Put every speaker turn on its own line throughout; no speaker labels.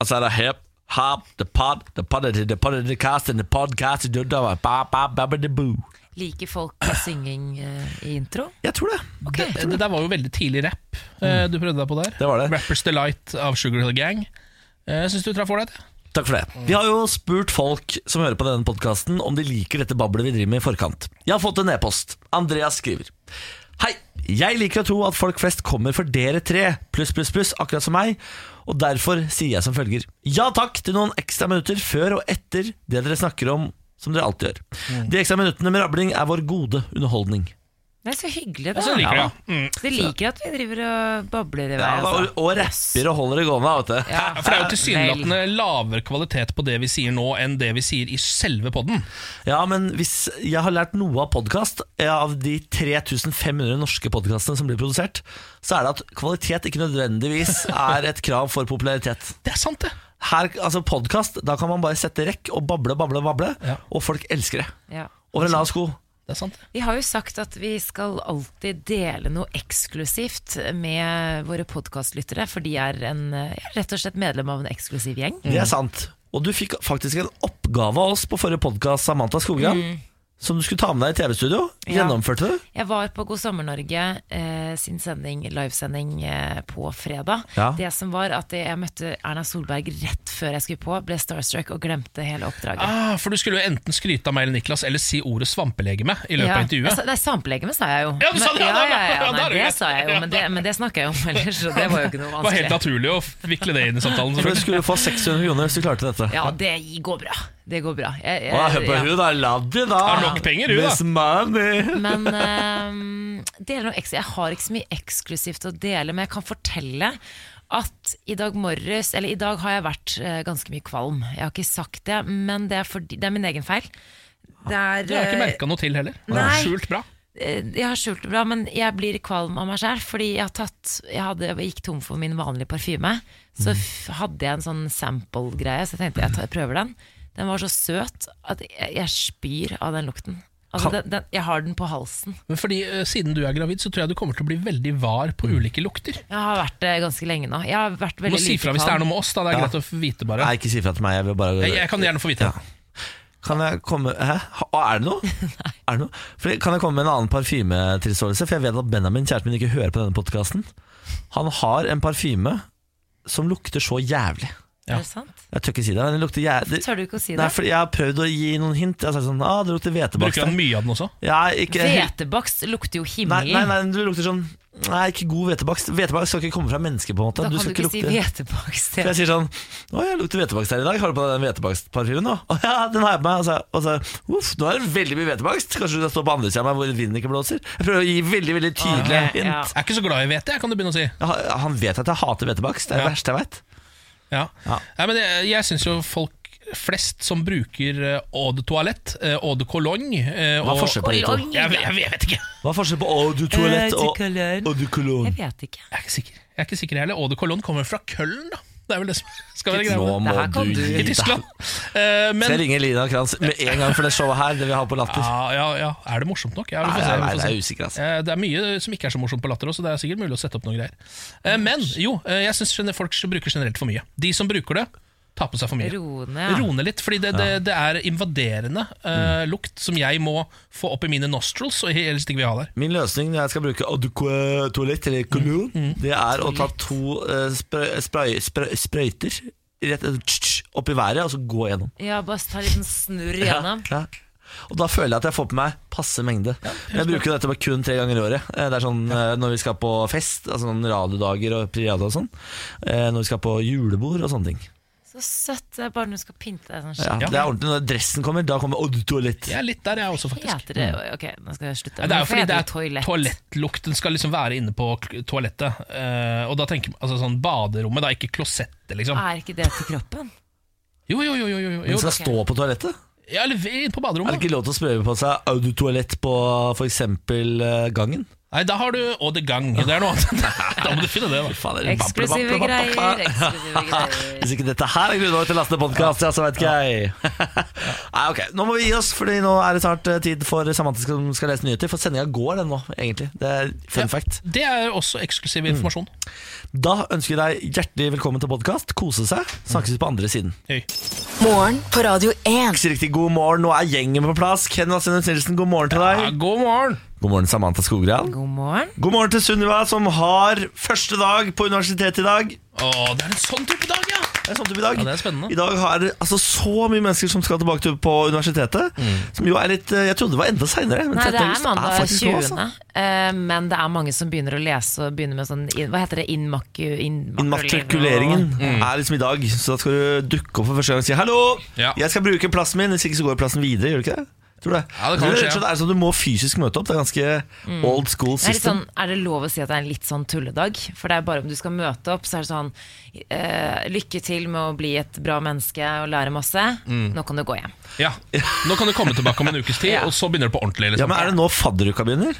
Og så er det hip, hop, the pod, the pod, the pod, the pod, the cast, and the podcast, and the ba, ba, ba, ba, the boo.
Liker folk synging eh, i intro?
Jeg tror det.
Ok,
Det, det der var jo veldig tidlig rap eh, du prøvde deg på der.
Det var det.
Rappers Delight av Sugar Hill Gang. Eh, Syns du traff ålreit?
Takk for det. Vi har jo spurt folk som hører på denne podkasten om de liker dette bablet vi driver med i forkant. Jeg har fått en e-post. Andreas skriver. Hei, jeg liker å tro at folk flest kommer for dere tre, pluss, pluss, pluss, akkurat som meg, og derfor sier jeg som følger. Ja takk til noen ekstra minutter før og etter det dere snakker om, som dere alltid gjør. De ekstra minuttene med rabling er vår gode underholdning.
Det er så hyggelig, da.
Ja, så liker jeg det. Mm.
De liker at vi driver og babler i vei.
Ja, og,
altså.
og rapper og holder det gående, vet du.
Ja,
Ja, For det er jo tilsynelatende lavere kvalitet på det vi sier nå, enn det vi sier i selve podden.
Ja, men hvis jeg har lært noe av podkast, av de 3500 norske podkastene som blir produsert, så er det at kvalitet ikke nødvendigvis er et krav for popularitet.
Det er sant, det.
Her, altså Podkast, da kan man bare sette rekk og bable, bable, bable,
Ja.
og folk elsker det.
Ja.
Over en lav sko.
det, er sant, det.
Vi har jo sagt at vi skal alltid dele noe eksklusivt med våre podkastlyttere, for de er en, eh, ja, rett og slett medlem av en eksklusiv gjeng.
Det er sant. Og du fikk faktisk en oppgave av oss på forrige podkast, Samantha Skogran, som du skulle ta med deg i TV-studio.
Ja.
Gjennomførte du?
Jeg var på God sommer Norge eh, sin sending, livesending eh, på fredag.
Ja.
Det som var at jeg møtte Erna Solberg rett før jeg skulle på, ble starstruck og glemte hele oppdraget.
Ah, for du skulle jo enten skryte av meg eller Niklas, eller si ordet svampelegeme i løpet
Jeg
av
altså,
intervjuet.
sa- Nei, sampelegeme sa jeg jo.
Ja, du sa det, ja,
ja,
da-
ja, ja,
ja, da
nei,
er det
det
greit.
sa jeg jo, men det, men det snakker jeg om ellers, så det var jo ikke noe
Det var helt
vanskelig.
naturlig å vikle det inn i samtalen.
For du
selvfølgelig.
skulle få 600 kroner hvis du klarte dette.
Ja, det går bra. Det går bra. Jeg- jeg-
Å, hør på
ja.
hun, da. La det, da.
Har nok penger, hun, da.
Miss Money.
Men ehm, det er noe eks- jeg har ikke så mye eksklusivt å dele, men jeg kan fortelle at i dag morges, eller i dag har jeg vært eh, ganske mye kvalm. Jeg har ikke sagt det, men det er, fordi, det er min egen feil. Det er,
Det har jeg ikke
eh,
merka noe til heller.
Nei.
Skjult bra.
eh, jeg har skjult det bra, men jeg blir kvalm av meg sjøl. Fordi jeg, har tatt, jeg, hadde, jeg gikk tom for min vanlige parfyme. Så f hadde jeg en sånn sample-greie, så jeg tenkte jeg, tar, jeg prøver den. Den var så søt at jeg, jeg spyr av den lukten. Altså, den, den, jeg har den på halsen.
Men fordi eh, Siden du er gravid, så tror jeg du kommer til å bli veldig var
Mm.
på ulike lukter.
Jeg har vært det ganske lenge nå. Jeg har vært
Du
veldig
må si fra hvis det er noe med oss. da, Det er
Ja.
greit å få vite, bare.
Nei, ikke si fra til meg. Jeg vil bare
Jeg, jeg kan gjerne få vite det.
Kan jeg komme Hæ? Ha- Er det noe? er det noe? Fordi, kan jeg komme med en annen parfymetilståelse? For jeg vet at Benjamin, kjæresten min, ikke hører på denne podkasten. Han har en parfyme som lukter så jævlig.
Ja.
Er det sant?
Jeg tør ikke si det, men den lukter jævlig
Tør du ikke å si
Nei,
det?
fordi Jeg har prøvd å gi noen hint. Jeg har sagt sånn ah, Det lukter hvetebakst
Bruker
der.
han mye av den også?
Ja, ikke helt-
Hvetebakst lukter jo
Nei, nei,
himmelen.
nei, det lukter sånn Nei, ikke god hvetebakst. Hvetebakst skal ikke komme fra mennesker, på en måte.
da kan
skal
du ikke si hvetebakst.
For jeg sier sånn Å, jeg lukter hvetebakst her i dag. Har du på deg den hvetebakstparfymen nå? Å ja, den har jeg på meg. Og så, og så uff, nå er det veldig mye hvetebakst. Kanskje du kan stå på andre sida av meg hvor vinden ikke blåser? Jeg prøver å gi veldig, veldig tydelige
Ok,
hint.
ja.
Jeg er ikke så glad i hvete, jeg, kan du begynne å si.
Jeg har- Han vet at jeg hater hvetebakst. Det er det
Ja.
verste jeg veit.
Ja.
Ja.
Nei, men jeg, jeg syns jo folk flest som bruker eh, eau de toalette, eh, eau de cologne eh,
Hva er forskjellen på de to?
Cologne.
Jeg, jeg, jeg vet ikke.
Hva er forskjellen på eau du toalett
Eh,
og
til cologne.
eau du cologne?
Jeg vet ikke.
Jeg er ikke sikker Jeg er ikke sikker heller. Eau de cologne kommer fra Køln, da. Det er vel det som skal være
Nå
greia.
Det her
må
kan
du
du.
I
gi deg.
Tyskland. Eh,
Skal jeg
men
ringe Lina Kranz med en gang for det showet her, det vi har på Latter?
ja, ja, ja. Er det morsomt nok? Ja, vi
Nei,
får se.
nei,
Vi får
det
se.
er usikker, altså.
Eh, Det er mye som ikke er så morsomt på latter også, det er sikkert mulig å sette opp noen greier. Eh, Men jo, eh, jeg syns folk bruker generelt for mye. De som bruker det, tar på seg for mye.
Roe ned, ja.
Roe ned litt, fordi det, det, det er invaderende eh, lukt som jeg må få opp i mine nostrils, og ellers ikke vil jeg ha der.
Min løsning når jeg skal bruke eau de co- toalett eller cologne, det er å ta to eh, spray, spray, spray, sprøyter rett tsk, tsk, opp i været og så gå gjennom.
Ja, bare ta en liten snurr igjennom.
Ja. Og da føler jeg at jeg får på meg passe mengde. Men jeg bruker dette bare kun tre ganger i året. Eh, Det er sånn eh, når vi skal på fest, altså sånn radiodager og priade og sånn. eh, Når vi skal på julebord og sånne ting.
Så søtt. Det er bare når du skal pynte deg sånn.
Ja,
Ja.
det er ordentlig Når dressen kommer, da kommer eau de toalett.
Jeg er litt der, jeg også,
Hva
faktisk.
heter det? Ok, nå skal jeg slutte.
Nei, Det er jo
Hvorfor
fordi det
heter
er toalettlukt. Den skal liksom være inne på k- toalettet. eh, og da tenker man altså sånn baderommet, da, ikke klosettet, liksom.
Er ikke det til kroppen?
Jo, jo, jo. jo, jo,
Men
jo.
skal
ok.
stå på toalettet?
Ja, eller inne
Er
på
det
baderommet. da.
ikke lov til å sprøyte på seg eau de toalett på f.eks. gangen?
Nei, da har du Og de gang. Det er noe annet. da må du finne det, da.
Faen, er det babble,
Eksklusive
babble, babble, babble.
greier. Eksklusive greier.
Hvis ikke dette her er grunnlag til lastende podkast, ja, så vet ikke jeg. Nei, Nei, ok, Nå må vi gi oss, Fordi nå er det snart eh, tid for Samantha som skal lese nyheter. For sendinga går, den nå, egentlig. Det er fun fact.
Det er også eksklusiv informasjon.
Da ønsker jeg deg hjertelig velkommen til podkast. Kose seg. Snakkes på andre siden.
Hei.
Morgen på Radio 1.
Riktig god morgen. Nå er gjengen på plass. Ken Vasenus Nilsen, god morgen til
Ja,
deg.
god morgen!
God morgen, Samantha Skogran.
God morgen.
God morgen til Sunniva, som har første dag på universitetet i dag.
Å, det er en sånn type dag, ja!
Det er sånn type i dag.
Ja, det er spennende.
I dag er det altså, så mye mennesker som skal tilbake til på universitetet.
Mm.
Som jo er litt eh, Jeg trodde det var enda seinere.
Nei, det er mandag 20. eh, men det er mange som begynner å lese og begynner med sånn inn- Hva heter det? Innmaku...
Matrikuleringen er liksom i dag, så da skal du dukke opp for første gang og si 'hallo,
Ja.
jeg skal bruke plassen min', hvis ikke så går plassen videre. Gjør du ikke det? Tror du det?
Ja, det kan
Tror du
skje,
rett og slett
ja.
er sånn at Du må fysisk møte opp. Det er ganske old school
Mm. Det er, litt
system.
sånn, er det lov å si at det er en litt sånn tulledag? For det er bare om du skal møte opp, så er det sånn eh, Lykke til med å bli et bra menneske og lære masse.
Mm.
Nå kan du gå hjem.
Ja, Nå kan du komme tilbake om en ukes tid,
Ja.
og så begynner det på ordentlig.
Ja,
Liksom.
men Er det nå fadderuka begynner?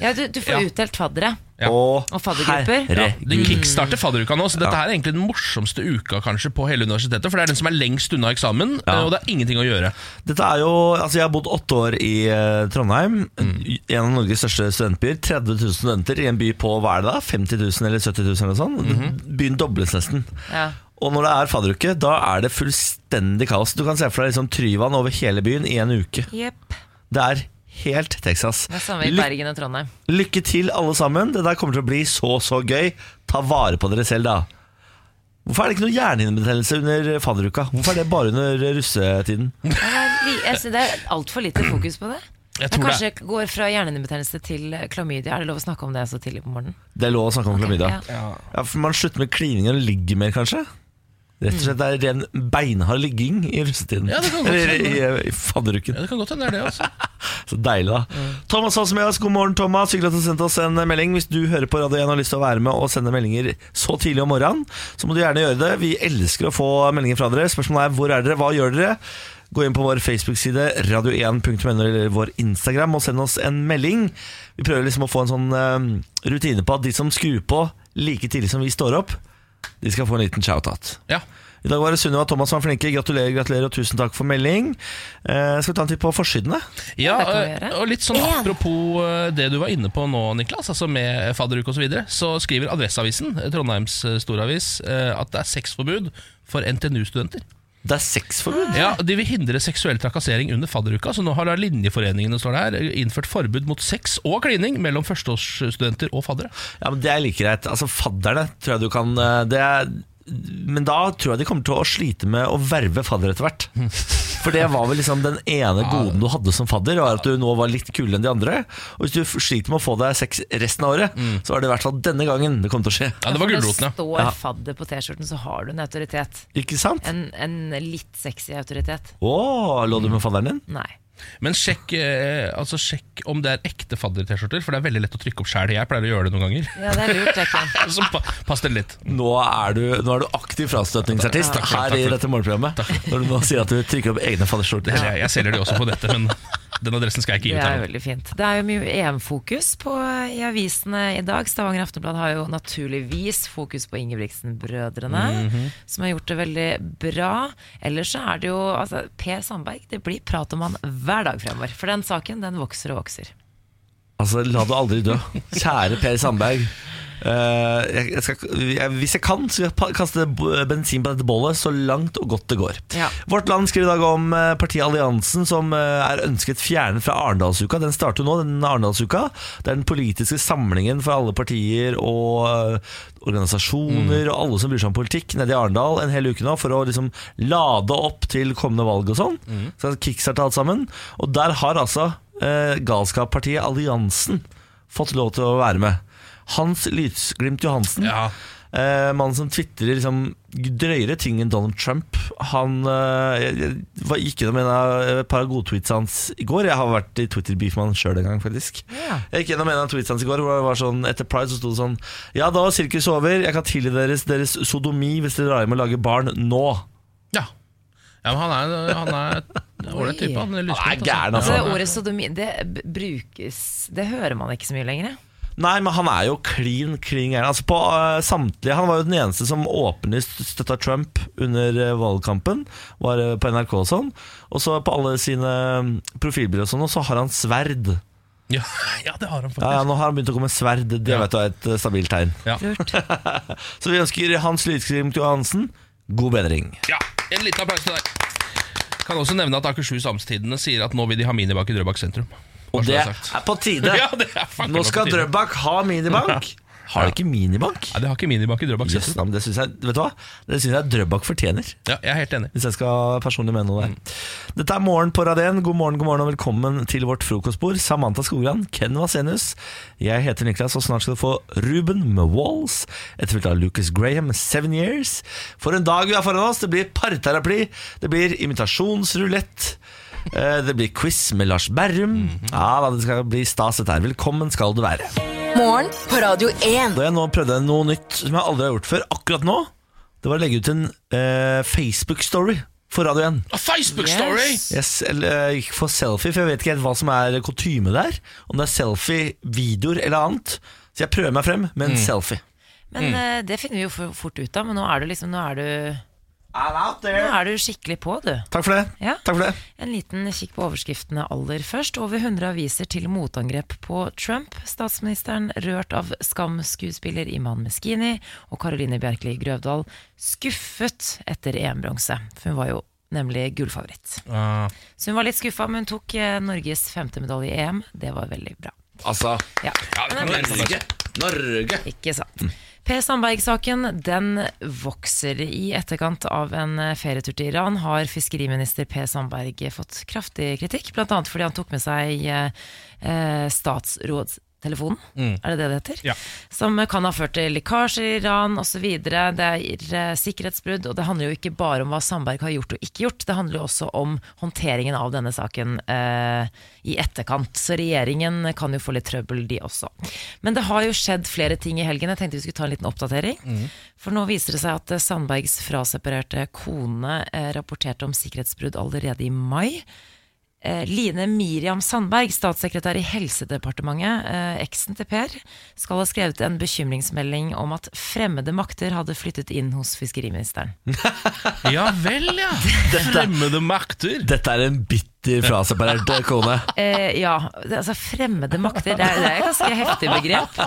Ja, du, du får
Ja.
utdelt faddere.
Ja.
Og,
Og faddergrupper.
Ja, det
Herregud.
kickstarter fadderuka nå, så dette her er egentlig den morsomste uka kanskje på hele universitetet. For det er den som er lengst unna eksamen, eh, og det er ingenting å gjøre.
Dette er jo, altså Jeg har bodd åtte år i eh, Trondheim. En av Norges største studentbyer. 30 000 studenter i en by på hva er det da? 50 000 eller 70 000? Eller sånn. Byen dobles nesten.
Ja.
Og når det er fadderuke, da er det fullstendig kaos. Du kan se for deg liksom Tryvann over hele byen i en uke.
Jepp.
Det er helt Texas.
Det er samme i
Lyk-
Bergen og Trondheim.
lykke til, alle sammen. Det der kommer til å bli så, så gøy. Ta vare på dere selv, da. Hvorfor er det ikke noe hjernehinnebetennelse under fadderuka? Hvorfor er det bare under russetiden?
Jeg synes det er altfor lite fokus på det.
Jeg
Jeg
tror
kanskje går fra hjernehinnebetennelse til eh, klamydia. Er det lov å snakke om det så tidlig på morgenen?
Det er lov å snakke om klamydia.
Ja.
Ja.
Ja, for Man slutter med klining og ligger mer, kanskje? Rett og slett, Det er ren beinhard ligging i russetiden.
Mm. Ja, det kan godt
Eller
hende.
i, i fadderuken.
Ja, det kan godt hende det er det, altså.
Så deilig, da. Thomas har også med oss. God morgen, Thomas. Hyggelig at du har sendt oss en melding. Hvis du hører på Radio 1 og har lyst til å være med og sende meldinger så tidlig om morgenen, så må du gjerne gjøre det. Vi elsker å få meldinger fra dere. Spørsmålet er hvor er dere, hva gjør dere? Gå inn på vår Facebook-side, radio1.no, eller vår Instagram, og send oss en melding. Vi prøver liksom å få en sånn eh, rutine på at de som skrur på like tidlig som vi står opp, de skal få en liten shout-out.
Ja.
I dag var det Sunniva og Thomas som var flinke. Gratulerer, gratulerer, og tusen takk for melding. Eh, skal vi ta en titt på forsidene?
Ja,
det kan vi
eh,
gjøre.
og litt sånn Apropos eh, det du var inne på nå, Niklas, altså med fadderuke osv., så, videre, så skriver Adresseavisen, eh, Trondheims eh, storavis, eh, at det er sexforbud for NTNU-studenter.
Det er sexforbud.
Ja, De vil hindre seksuell trakassering under fadderuka, så nå har da linjeforeningene står det her, innført forbud mot sex og klining mellom førsteårsstudenter og faddere.
Ja, men Det er like greit. Altså, Fadderne tror jeg du kan eh, det er, Men da tror jeg de kommer til å slite med å verve fadder etter hvert. For det var vel liksom den ene goden du hadde som fadder, var at du nå var litt kulere enn de andre. Og hvis du f- sliter med å få deg sex resten av året,
Mm.
så var det i hvert fall denne gangen det kom til å skje.
Ja, det var
For
gulroten, ja.
står
Ja.
fadder på T-skjorten, så har du en autoritet.
Ikke sant?
En, en litt sexy autoritet.
Å, lå du med fadderen din?
Nei.
Men sjekk, eh, altså sjekk om det er ekte fadder-T-skjorter, for det er veldig lett å trykke opp sjæl. Jeg pleier å gjøre det noen ganger.
Ja, det er lurt, det, Ken.
Så pa pass dere litt.
Nå er du, nå er du aktiv frastøtningsartist
Takk for
her
det, takk
i
for det.
dette morgenprogrammet. Når du nå sier at du trykker opp egne fadderskjorter.
Jeg, jeg selger de også på dette, men den adressen skal jeg ikke gi
Det
ut
er
her.
veldig fint. Det er jo mye EM-fokus på i avisene i dag. Stavanger Aftenblad har jo naturligvis fokus på Ingebrigtsen-brødrene, som har gjort det veldig bra. Ellers så er det jo altså, Per Sandberg, det blir prat om han hver dag fremover. For den saken, den vokser og vokser.
Altså, la du aldri dø. Kjære Per Sandberg. Eh, jeg, jeg skal, jeg, hvis jeg kan, så vil jeg pa- kaste b- bensin på dette bålet så langt og godt det går.
Ja.
Vårt Land skriver i dag om eh, partiet Alliansen, som eh, er ønsket fjernet fra Arendalsuka. Den starter jo nå, den Arendalsuka. Det er den politiske samlingen for alle partier og eh, organisasjoner og alle som bryr seg om politikk nede i Arendal en hel uke nå, for å liksom lade opp til kommende valg og sånn. Skal kickstarte alt sammen. Og der har altså eh, galskappartiet Alliansen fått lov til å være med. Hans Lysglimt Johansen,
Ja.
eh, mannen som twitrer liksom, drøyere ting enn Donald Trump Han eh, jeg, jeg var- gikk gjennom en av eh, et par av godtweets hans i går. Jeg har vært i Twitter-beef med han sjøl en gang, faktisk. Jeg gikk gjennom en av tweets hans i går hvor det var sånn Etter Pride så sto det sånn Ja, da var sirkuset over. Jeg kan tilgi deres deres sodomi hvis dere drar hjem og lager barn nå.
ja. ja men han er han er en ålreit type. Han er,
Han er gæren, altså.
Så det ordet sodomi, det b- brukes Det hører man ikke så mye lenger. jeg.
Nei, men han er jo klin, klin gæren. Altså på eh, samtlige Han var jo den eneste som åpenlyst støtta Trump under eh, valgkampen. Var eh, på NRK og sånn. Og så på alle sine mm, profilbilder og sånn, og så har han sverd.
Ja, ja, det har han faktisk.
Ja, ja, nå har han begynt å komme sverd. Det
Ja.
vet du er et eh, stabilt tegn.
Lurt.
Så vi ønsker Hans Lydskrim til Johansen god bedring.
Ja, En liten applaus til deg. Kan også nevne at Akershus Amtstidende sier at nå vil de ha minibank i Drøbak sentrum. Bare
Og
så
det
det er sagt.
er på tide.
Ja, det er fucking
Nå
på
skal
tide.
Drøbak ha minibank. Har de ikke minibank?
Nei, de har ikke minibank i Drøbak
Yes,
sentrum.
da, men det syns jeg Vet du hva? Det synes jeg Drøbak fortjener.
Ja, jeg er helt enig.
Hvis jeg skal personlig mene noe der. Dette er Morgen på Radien. God morgen, god morgen og velkommen til vårt frokostbord. Samantha Skogran, Ken Vasenius. Jeg heter Niklas, og snart skal du få Ruben med Walls. Etterfulgt av Lucas Graham med Seven Years. For en dag vi har foran oss. Det blir parterapi. Det blir imitasjonsrulett. eh, Det blir quiz med Lars Berrum. Ja, da, Det skal bli stas, dette her. Velkommen skal du være.
Morgen på Radio 1.
Da jeg nå prøvde noe nytt som jeg aldri har gjort før, akkurat nå, det var å legge ut en eh, Facebook-story for Radio 1.
A Facebook-story!
Yes.
Yes, eller, jeg gikk for selfie, for jeg vet ikke helt hva som er kutyme der. Om det er selfie, videoer eller annet. Så jeg prøver meg frem med en
Mm.
selfie.
Men eh, det finner vi jo for fort ut av. Men nå er du liksom Nå er du,
I'm out
nå
there.
er du skikkelig på, du.
Takk for det.
Ja.
Takk for det.
En liten kikk på overskriftene aller først. Over 100 aviser til motangrep på Trump. Statsministeren rørt av skamskuespiller Iman Meskini og Caroline Bjerkeli Grøvdal skuffet etter EM-bronse. For hun var jo nemlig gullfavoritt.
Ah,
Så hun var litt skuffa, men hun tok eh, Norges femte medalje i EM. Det var veldig bra.
Altså,
Ja,
ja, det
Men
kan
det er
være
bra.
sånn. altså.
Norge.
Ikke sant. Per Sandberg-saken den vokser. I etterkant av en ferietur til Iran har fiskeriminister Per Sandberg fått kraftig kritikk, bl.a. fordi han tok med seg eh, eh, statsrådstelefonen, er det det det heter?
Ja.
Som kan ha ført til lekkasjer i Iran osv. Det er eh, sikkerhetsbrudd, og det handler jo ikke bare om hva Sandberg har gjort og ikke gjort, det handler jo også om håndteringen av denne saken eh, i etterkant. Så regjeringen kan jo få litt trøbbel, de også. Men det har jo skjedd flere ting i helgen. Jeg tenkte vi skulle ta en liten oppdatering. For nå viser det seg at eh, Sandbergs fraseparerte kone eh, rapporterte om sikkerhetsbrudd allerede i mai. Eh, Line Miriam Sandberg, statssekretær i Helsedepartementet, eh, eksen til Per, skal ha skrevet en bekymringsmelding om at fremmede makter hadde flyttet inn hos fiskeriministeren.
Ja vel, ja. Fremmede makter.
Dette er en bitter fraseparert kone.
Eh, ja, det- altså fremmede makter, det er, det er et ganske heftig begrep.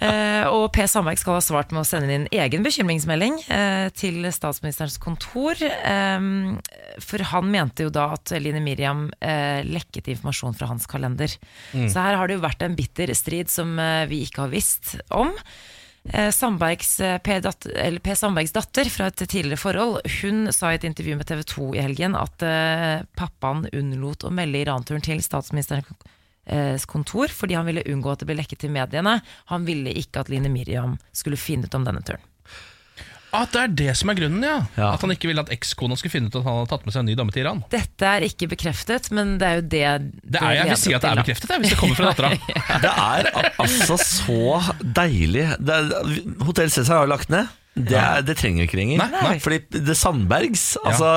Eh, og Per Sandberg skal ha svart med å sende inn egen bekymringsmelding eh, til statsministerens kontor. Eh, for han mente jo da at Line Miriam eh, lekket informasjon fra hans kalender. Så her har det jo vært en bitter strid som eh, vi ikke har visst om. Eh, Sandbergs, eh, per, dat eller per Sandbergs datter fra et tidligere forhold Hun sa i et intervju med TV 2 i helgen at eh, pappaen unnlot å melde Iran-turen til statsministerens eh, kontor fordi han ville unngå at det ble lekket til mediene. Han ville ikke at Line Miriam skulle finne ut om denne turen.
At det er det som er grunnen, ja.
Ja.
At han ikke ville at ekskona skulle finne ut at han hadde tatt med seg en ny dame til Iran.
Dette er ikke bekreftet, men det er jo det
Det er, jeg vil si at det er bekreftet, jeg, hvis det kommer fra dattera.
Det er al- altså så deilig. Det er, Hotel Cæsar har jo lagt ned. Det, er, det trenger vi ikke lenger.
Nei, nei.
Fordi det Sandbergs altså,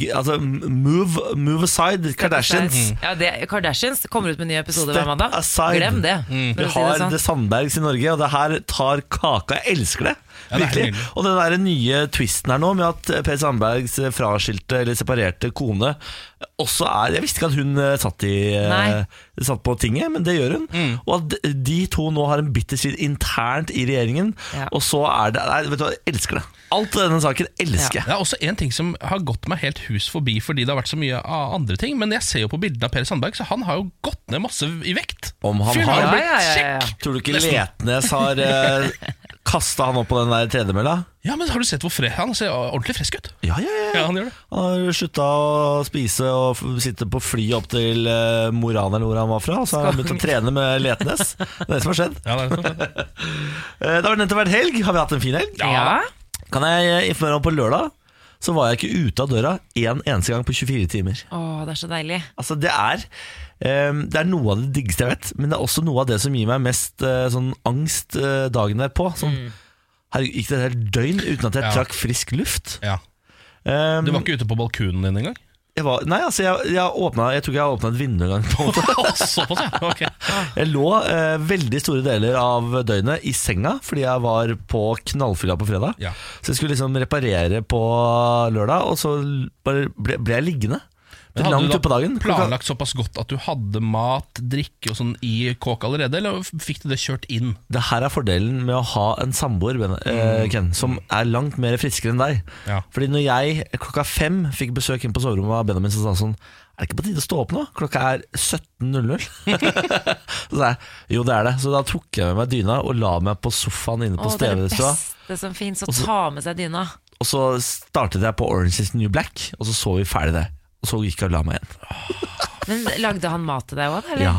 g- altså move, move aside, Kardashians.
Ja, det, Kardashians kommer ut med en ny episode hver
Step
mandag.
aside. Mm.
Glem
Vi
det. for å si det
har
sånn.
det Sandbergs i Norge, og det her tar kaka. Jeg elsker det.
Ja, det er
Virkelig.
nydelig.
Og den der nye twisten her nå, med at Per Sandbergs fraskilte eller separerte kone også er Jeg visste ikke at hun eh, satt, i, eh,
Nei.
satt på tinget, men det gjør hun.
Mm.
Og at de- de to nå har en bitter strid internt i regjeringen,
Ja.
og så er det Nei, vet du hva, jeg elsker det. Alt i denne saken elsker jeg.
Det er også en ting som har gått meg helt hus forbi fordi det har vært så mye av andre ting. Men jeg ser jo på bildene av Per Sandberg, så han har jo gått ned masse i vekt.
Om han
Fyren
har-
blitt
Ja, ja, ja, ja.
kjekk!
Tror du ikke
Nesten.
Letnes har eh, kasta han opp på den der tredemølla?
Ja, men har du sett hvor fre han ser ordentlig frisk ut?
Ja, ja, ja.
Ja, han gjør det.
Han har slutta å spise og f- sitte på fly opp til eh, Moran eller hvor han var fra. Og så har han begynt å trene med Letnes. Det er det som har skjedd.
Ja, det er sånn.
Eh, Det har nettopp vært helg. Har vi hatt en fin helg?
Ja.
Kan jeg eh, informere om på lørdag så var jeg ikke ute av døra én eneste gang på 24 timer.
Å, det er så deilig.
Altså Det er eh, Det er noe av det diggeste jeg vet, men det er også noe av det som gir meg mest eh, sånn angst eh, dagen derpå. Sånn, Herregud, gikk det et helt døgn uten at jeg
Mm. Ja.
trakk frisk luft?
ja.
Um,
Du var ikke ute på balkonen din engang?
Jeg var, nei, altså, jeg, jeg, åpna, jeg tror ikke jeg åpna et vindu engang. på en måte.
Såpass, ja. Ok.
Jeg lå eh, veldig store deler av døgnet i senga fordi jeg var på knallfylla på fredag.
Ja.
Så jeg skulle liksom reparere på lørdag, og så l- bare ble, ble jeg liggende.
Men hadde
Langt
du da
utpå dagen. Klokka-
planlagt såpass godt at du hadde mat, drikke og sånn i kåk allerede, eller fikk du det kjørt inn?
Det her er fordelen med å ha en samboer Ben-
Mm.
eh, Ken, som er langt mer friskere enn deg.
Ja.
Fordi når jeg klokka fem fikk besøk inn på soverommet av Benjamin, så sa han sånn Er det ikke på tide å stå opp nå? Klokka er 17.00. så sa jeg jo, det er det. Så da tok jeg med meg dyna og la meg på sofaen inne på
Å, det er det
stedet.
beste som fins, å ta med seg dyna.
Og så startet jeg på Orange is the New Black, og så så vi ferdig det. Og så gikk jeg og la meg igjen.
Men lagde han mat til deg òg, eller?
Ja,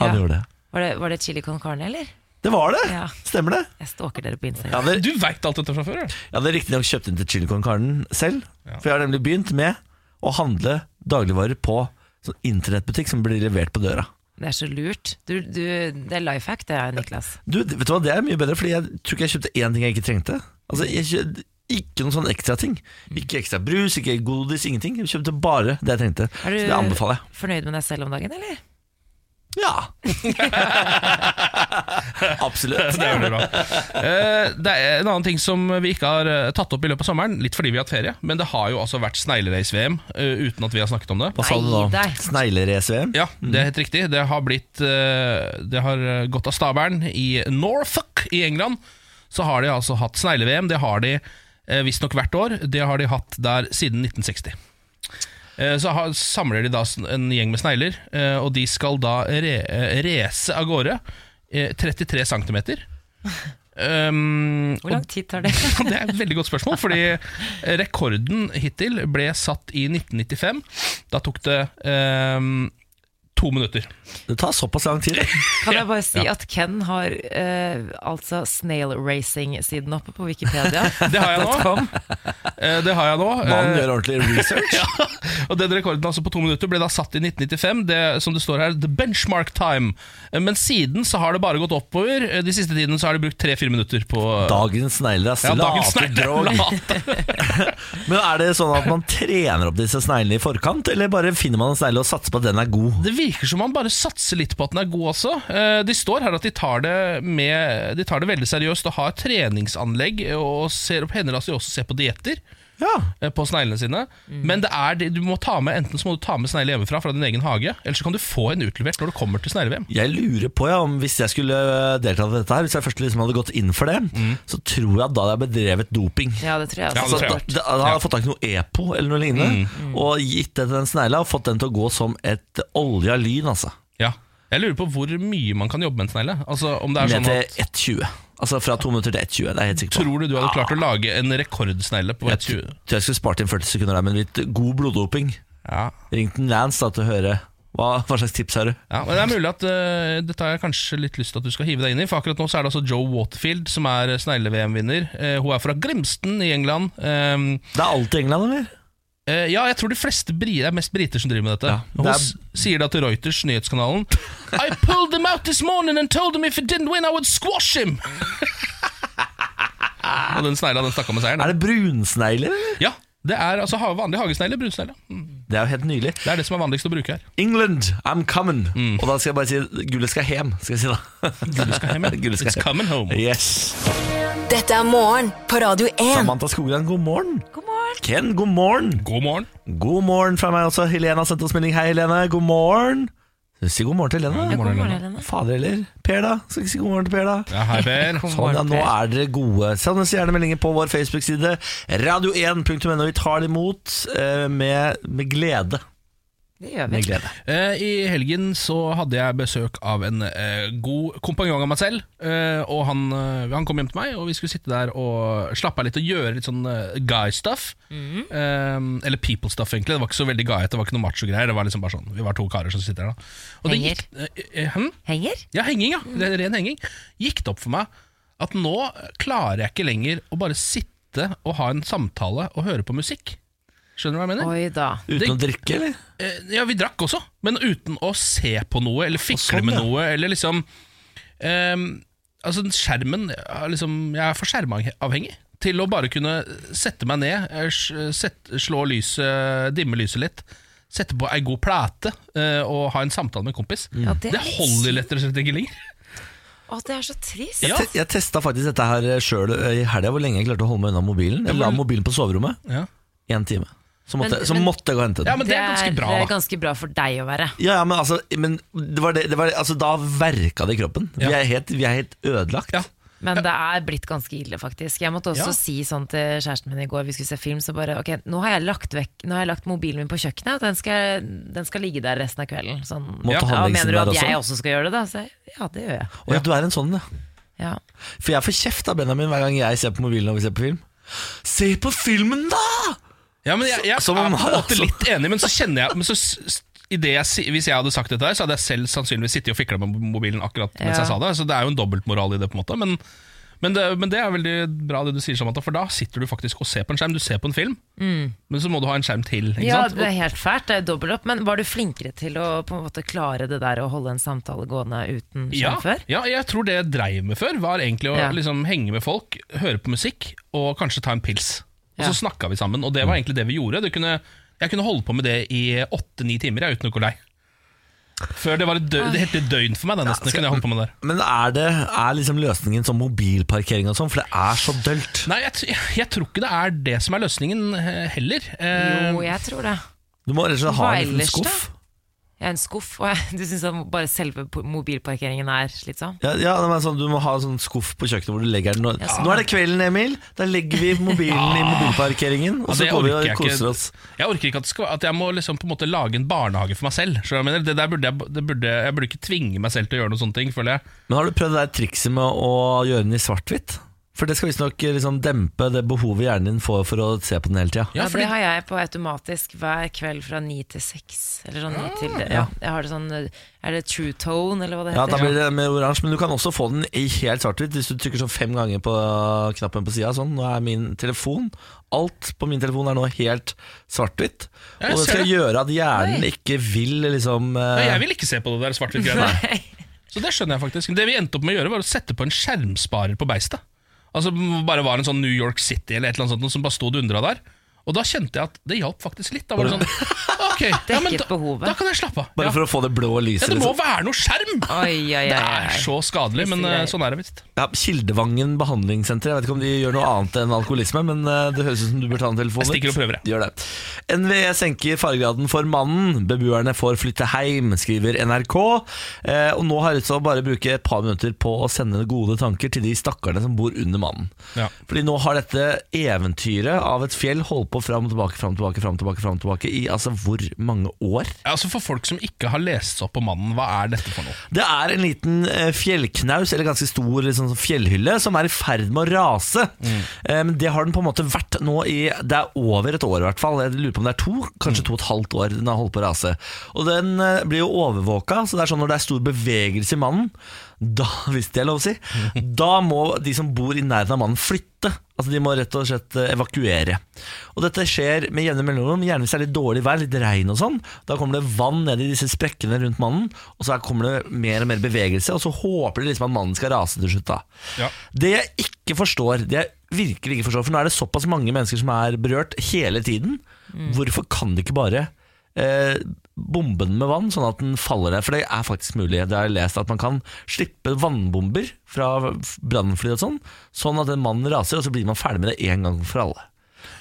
han
Ja.
gjorde det.
Var, det, var det chili con carne, eller?
Det var det!
Ja.
Stemmer det?
Jeg stalker dere på
Jeg
Instagram.
hadde,
Du veit alt dette fra før? du.
jeg hadde riktignok kjøpt inn til chili con carne selv,
Ja.
for jeg har nemlig begynt med å handle dagligvarer på sånn internettbutikk som blir levert på døra.
Det er så lurt. Du, du, det er life hack, det er Niklas.
Du, vet du hva, Det er mye bedre, Fordi jeg tror ikke jeg kjøpte én ting jeg ikke trengte. Altså, jeg kjø- Ikke noen sånn ekstra ting.
Mm.
Ikke ekstra brus, ikke godis, ingenting. Jeg kjøpte bare det jeg trengte.
Er
Så
du-
det anbefaler jeg.
Fornøyd med deg selv om dagen, eller?
Ja! Absolutt.
Det er veldig bra. Eh, Det er en annen ting som vi ikke har eh, tatt opp i løpet av sommeren, litt fordi vi har hatt ferie, men det har jo altså vært sneglerace-VM eh, uten at vi har snakket om det.
Hva sa du
Nei,
da?
der.
Sneglerace-VM?
Ja, det er helt riktig. Det har, blitt, eh, det har eh, gått av stabelen i Norfolk i England. Så har de altså hatt snegle-VM. Det har de eh, visstnok hvert år. Det har de hatt der siden 1960. Eh, Så har, samler de da sn- en gjeng med snegler, eh, og de skal da re, eh, race av gårde eh, 33 cm. Um,
Hvor lang tid tar det?
det er et veldig godt spørsmål, fordi rekorden hittil ble satt i 1995. Da tok det ehm, to minutter.
Det tar såpass lang tid.
Kan jeg bare si at Ken har eh, altså snail racing-siden oppe på Wikipedia.
Det har jeg nå. Eh, Det har jeg nå.
Mannen
Eh,
gjør ordentlig research.
Og den rekorden altså på to minutter ble da satt i 1995, det, som det står her, the benchmark time. Eh, Men siden så har det bare gått oppover. Eh, De siste tidene så har de brukt tre-fire minutter på
Dagens sneglerace.
ja, dagens
late drog.
snegle. Late.
Men er det sånn at man trener opp disse sneglene i forkant, eller bare finner man en snegle og satser på at den er god?
Det virker som man bare satser litt på at den er god også. Eh, De står her at de tar det, med, de tar det veldig seriøst og har treningsanlegg og ser opp hender at de også ser på dietter
Ja.
eh, på sneglene sine. Men det er, det- du må ta med, enten så må du ta med snegle hjemmefra fra din egen hage, eller så kan du få en utlevert når du kommer til snegle-VM.
Jeg lurer på ja, om hvis jeg skulle delta i dette her, hvis jeg først liksom hadde gått inn for det,
Mm.
så tror jeg at da hadde jeg bedrevet doping.
Ja, det tror jeg
Ja,
også.
Mm.
Altså,
tror
da,
jeg.
da hadde jeg fått tak i noe EPO eller noe lignende, og gitt det til den snegla og fått den til å gå som et olja lyn, altså.
Ja. Jeg lurer på hvor mye man kan jobbe med en snegle. Altså, om det er
Ned
sånn
til
at,
1,20. Altså fra to minutter til 1,20, det er jeg helt sikker på.
tror du du hadde klart å lage en rekordsnegle på
Jeg
20?
tror jeg skulle spart inn 40 sekunder der, men litt god bloddoping.
Ja.
Ring til Lance da til å høre hva, hva slags tips har du.
Ja, men Det er mulig at eh, dette har jeg kanskje litt lyst til at du skal hive deg inn i. For akkurat nå så er det altså Joe Waterfield som er snegle-VM-vinner. Eh, hun er fra Grimston i England. Ehm,
Det er alltid England, eller?
eh, ja, jeg tror de fleste bri det er mest briter som driver med dette.
Ja,
hun
det er-
s- sier da til Reuters, nyhetskanalen I pulled them out this morning and told them if he didn't win, I would squash him! Og den snegla, den stakk av med seieren.
Er det brunsnegler, eller?
Ja, det er altså ha- vanlig hagesnegle, brunsnegle. Mm.
Det er jo helt nydelig.
Det er det som er vanligst å bruke her.
England, I'm coming. Og da skal jeg bare si gullet skal hjem. Skal jeg si da.
Mm. Gullet skal hjem. ja.
Gullet skal
It's
hjem.
coming home.
Yes.
Dette er morgen på Radio 1.
Samantha Skogran, god morgen.
God morgen!
Ken, god morgen.
God morgen.
God morgen fra meg også. Helene har sendt oss melding. Hei, Helene. God morgen. Si god morgen til
Ja,
Helene.
god morgen,
Helene.
Helene.
Fader heller. Per, da? Skal ikke si god morgen til Per, da?
Ja, hei, Per.
Sånn, ja, nå er dere gode. Send oss gjerne meldinger på vår Facebook-side, radio1.no. Vi tar det imot eh, med, med glede.
Det gjør vi.
Med glede.
Eh, I helgen så hadde jeg besøk av en eh, god kompanjong av meg selv. Eh, og han, eh, han kom hjem til meg, og vi skulle sitte der og slappe av litt og gjøre litt sånn eh, guy stuff. Eh, eller people stuff, egentlig. Det var ikke så veldig guyete, det var ikke noe macho-greier. Det var liksom bare sånn, Vi var to karer som sitter der, da. Og
Henger.
Det gikk, eh, eh, hm?
Henger?
Ja, henging, ja. Det er ren henging. Gikk det opp for meg at nå klarer jeg ikke lenger å bare sitte og ha en samtale og høre på musikk. Skjønner du hva jeg mener?
Oi da.
Uten å drikke, eller?
Eh, Ja, vi drakk også, men uten å se på noe eller fikle
sånn,
med
ja.
noe. Eller liksom ehm, Altså, skjermen ja, liksom, Jeg er for skjermavhengig til å bare kunne sette meg ned, eh, s- sett- slå lyset, dimme lyset litt, sette på ei god plate eh, og ha en samtale med en kompis.
Ja,
det,
det er litt
holder rett og slett ikke lenger.
Å, det er så trist.
Ja.
Te- Jeg testa faktisk dette her eh, sjøl i helga, hvor lenge jeg klarte å holde meg unna mobilen. Jeg la
men-
mobilen på soverommet
Ja.
én time. Så måtte,
Men-
så
men-
måtte jeg gå og hente
ja,
den.
men det er ganske bra,
eh,
da.
ganske bra for deg å være.
Ja, ja, men, altså, men det var det, det var, altså, da verka det i kroppen.
Ja.
Vi, er helt, vi er helt ødelagt.
Ja.
Men det er blitt ganske ille, faktisk. Jeg måtte også
Ja.
si sånn til kjæresten min i går, vi skulle se film, så bare ok, nå har jeg lagt, vekk, nå har jeg lagt mobilen min på kjøkkenet, og den skal, den skal ligge der resten av kvelden. Sånn,
Måtte han liksom
mener du
der
at
også?
jeg også skal gjøre det, da? Så, jeg, ja, det gjør jeg.
Og ja. du er en sånn, ja.
Ja.
For jeg får kjeft av Benjamin hver gang jeg ser på mobilen når vi ser på film. Se på filmen, da!
Ja, men jeg, jeg
Som om- altså.
er på en måte
som-
litt enig, men så kjenner jeg men så, s- s- i det jeg, si- Hvis jeg hadde sagt dette, her så hadde jeg selv sannsynligvis sittet og fikla med mobilen akkurat mens
Ja.
jeg sa det. Så det er jo en dobbeltmoral i det, på en måte. Men, men, det, men det er veldig bra det du sier, Samantha, for da sitter du faktisk og ser på en skjerm. Du ser på en film, men så må du ha en skjerm til. Ikke
Mm. ja,
sant?
det er helt fælt, det er dobbelt opp, men var du flinkere til å på en måte klare det der å holde en samtale gående uten
ja,
skjerm sånn før?
ja, jeg tror det jeg dreiv med før, var egentlig å
Ja.
liksom, henge med folk, høre på musikk og kanskje ta en pils. Og
Ja.
så snakka vi sammen, og det var egentlig det vi gjorde. Det kunne, jeg kunne holde på med det i åtte-ni timer jeg, uten å gå lei. Før det var et
Ah.
døgn, det het et døgn for meg, da, nesten. det kunne jeg holdt på med der.
Men er, det, er liksom løsningen sånn mobilparkering og sånn? For det er så dølt.
Nei, jeg, t- jeg tror ikke det er det som er løsningen eh, heller. Eh,
Jo, jeg tror det.
Du må rett og slett ha
Hva
en liten
ellers, da?
skuff.
Jeg er en skuff, og jeg, du syns bare selve po- mobilparkeringen er slitsom?
Ja, ja, men sånn, du må ha sånn skuff på kjøkkenet hvor du legger den. Nå,
sånn
nå er det kvelden, Emil. Da legger vi mobilen i mobilparkeringen, og så
Ah. det
går vi
orker jeg
og
ikke.
koser oss.
Jeg orker ikke at, det skal, at jeg må liksom på en måte lage en barnehage for meg selv. Så jeg, mener, det der burde jeg, det burde, jeg burde ikke tvinge meg selv til å gjøre noen sånne ting, føler jeg.
Men har du prøvd det der trikset med å gjøre den i svart-hvitt? For det skal visstnok liksom dempe det behovet hjernen din får for å se på den hele tida.
Ja,
Ja, fordi-
Det har jeg på automatisk hver kveld fra ni til seks. Eller sånn ni til ja. Jeg har det sånn Er det true tone, eller hva det
Ja, da
heter?
blir det med oransje, men du kan også få den i helt svart-hvitt hvis du trykker sånn fem ganger på knappen på sida. Sånn, nå er min telefon Alt på min telefon er nå helt svart-hvitt.
Ja, jeg
Og det
ser
skal
det.
gjøre at hjernen ikke vil liksom
Nei,
eh,
jeg vil ikke se på det der svart-hvitt-greiene. Så det skjønner jeg faktisk. Det vi endte opp med å gjøre, var å sette på en skjermsparer på beistet. Altså bare var en sånn New York City eller et eller annet sånt noe som bare sto og dundra der. Og da kjente jeg at det hjalp faktisk litt. Da var det sånn Ok, ja, men da,
Dekket behovet.
da kan jeg slappe av.
Bare
Ja.
for å få det blå
Ja,
lyset.
det må
liksom.
være noe skjerm!
Oi, oi,
Det
oi,
er
oi.
så skadelig, men eh, sånn er det visst.
ja, Kildevangen behandlingssenter. Jeg vet ikke om de gjør noe annet enn alkoholisme, men eh, det høres ut som du bør ta en telefon.
Jeg
ut.
stikker og prøver, jeg.
Gjør det. NVE senker fargegraden for mannen. Beboerne får flytte heim, skriver NRK. Eh, og nå har jeg lyst til å bare bruke et par minutter på å sende gode tanker til de stakkarene som bor under mannen.
Ja.
Fordi nå har dette eventyret av et fjell holdt på fram og tilbake, fram og tilbake, fram og tilbake, fram og tilbake i altså hvor mange år?
Altså For folk som ikke har lest seg opp på mannen, hva er dette for noe?
Det er en liten eh, fjellknaus, eller ganske stor liksom, sånn fjellhylle, som er i ferd med å rase. Eh, Men det har den på en måte vært nå i Det er over et år, i hvert fall. Jeg lurer på om det er to, kanskje to og et halvt år den har holdt på å rase. Og den eh, blir jo overvåka, så det er sånn når det er stor bevegelse i mannen, da, hvis det er lov å si, da må de som bor i nærheten av mannen, flytte. Altså De må rett og slett eh, evakuere. Og Dette skjer med jevne mellomrom, gjerne hvis det er litt dårlig vær, litt regn og sånn. Da kommer det vann ned i disse sprekkene rundt mannen, og så her kommer det mer og mer bevegelse, og så håper de liksom at mannen skal rase til slutt. da
Ja.
Det jeg ikke forstår, det jeg virkelig ikke forstår, for nå er det såpass mange mennesker som er berørt hele tiden, hvorfor kan de ikke bare eh, bombe den med vann, sånn at den faller ned? For det er faktisk mulig. Det har jeg lest at man kan slippe vannbomber fra brannfly og sånn, sånn at en mann raser, og så blir man ferdig med det en gang for alle.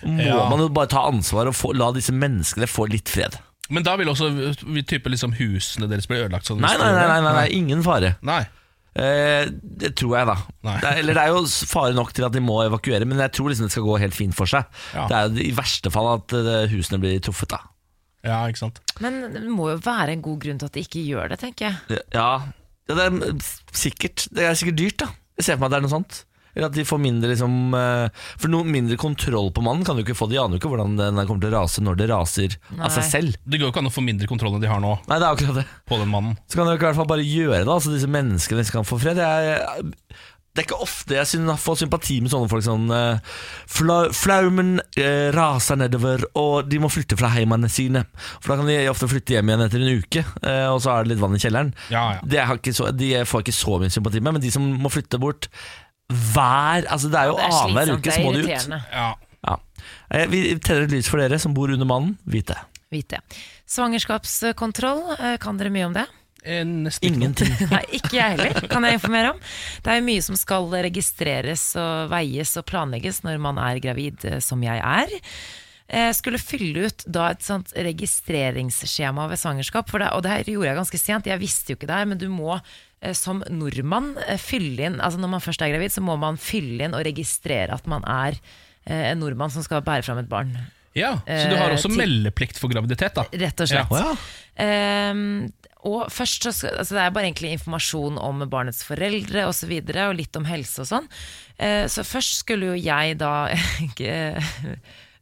Må
Ja.
man jo bare ta ansvar og få, la disse menneskene få litt fred?
Men da vil også eh, type liksom husene deres bli ødelagt? Sånn,
Nei, nei, nei, nei, nei, nei ingen fare.
Nei.
Eh, det tror jeg, da.
Nei.
Det er, eller det er jo s- fare nok til at de må evakuere, men jeg tror liksom det skal gå helt fint for seg.
Ja.
Det er jo i verste fall at eh, husene blir truffet, da.
Ja, ikke sant.
Men det må jo være en god grunn til at de ikke gjør det, tenker jeg.
Ja, ja det, er, mm, s- sikkert, det er sikkert dyrt, da. Jeg ser for meg at det er noe sånt. Eller at de får mindre liksom eh, For noe mindre kontroll på mannen kan du ikke få. De aner jo ikke hvordan den der kommer til å rase når det raser av
Nei.
seg selv.
Det går jo ikke an å få mindre kontroll enn de har nå
Nei, det er akkurat det.
på den mannen.
Så kan dere i hvert fall bare gjøre det, altså disse menneskene som kan få fred. Jeg, det er ikke ofte jeg syn- får sympati med sånne folk. Sånn, eh, fla, flaumen eh, raser nedover, og de må flytte fra heimene sine. For da kan de ofte flytte hjem igjen etter en uke, eh, og så er det litt vann i kjelleren.
Ja, ja.
Det har ikke så, de får jeg ikke så mye sympati med, men de som må flytte bort hver altså Det er jo
Det er
annenhver
slitsomt,
uke
det
så
er
må de ut.
irriterende.
Ja.
Ja. Eh, Vi tenner et lys for dere som bor under mannen. Vit det.
vite. Svangerskapskontroll, eh, kan dere mye om det?
Eh, nesten ikke noe.
Ingenting.
Nei, ikke jeg heller, kan jeg informere om. Det er jo mye som skal registreres og veies og planlegges når man er gravid, eh, som jeg er. Jeg skulle fylle ut da et sånt registreringsskjema ved svangerskap, for det, og det her gjorde jeg ganske sent, jeg visste jo ikke det her, men du må eh, som nordmann eh, fylle inn, altså når man først er gravid, så må man fylle inn og registrere at man er eh, en nordmann som skal bære fram et barn.
Ja, Så du har
Eh,
også
ti-
meldeplikt for graviditet, da.
Rett og slett.
Å ja.
Ehm, og først så skal, altså Det er bare egentlig informasjon om barnets foreldre og, så videre, og litt om helse og sånn. Eh, så først skulle jo jeg da eh,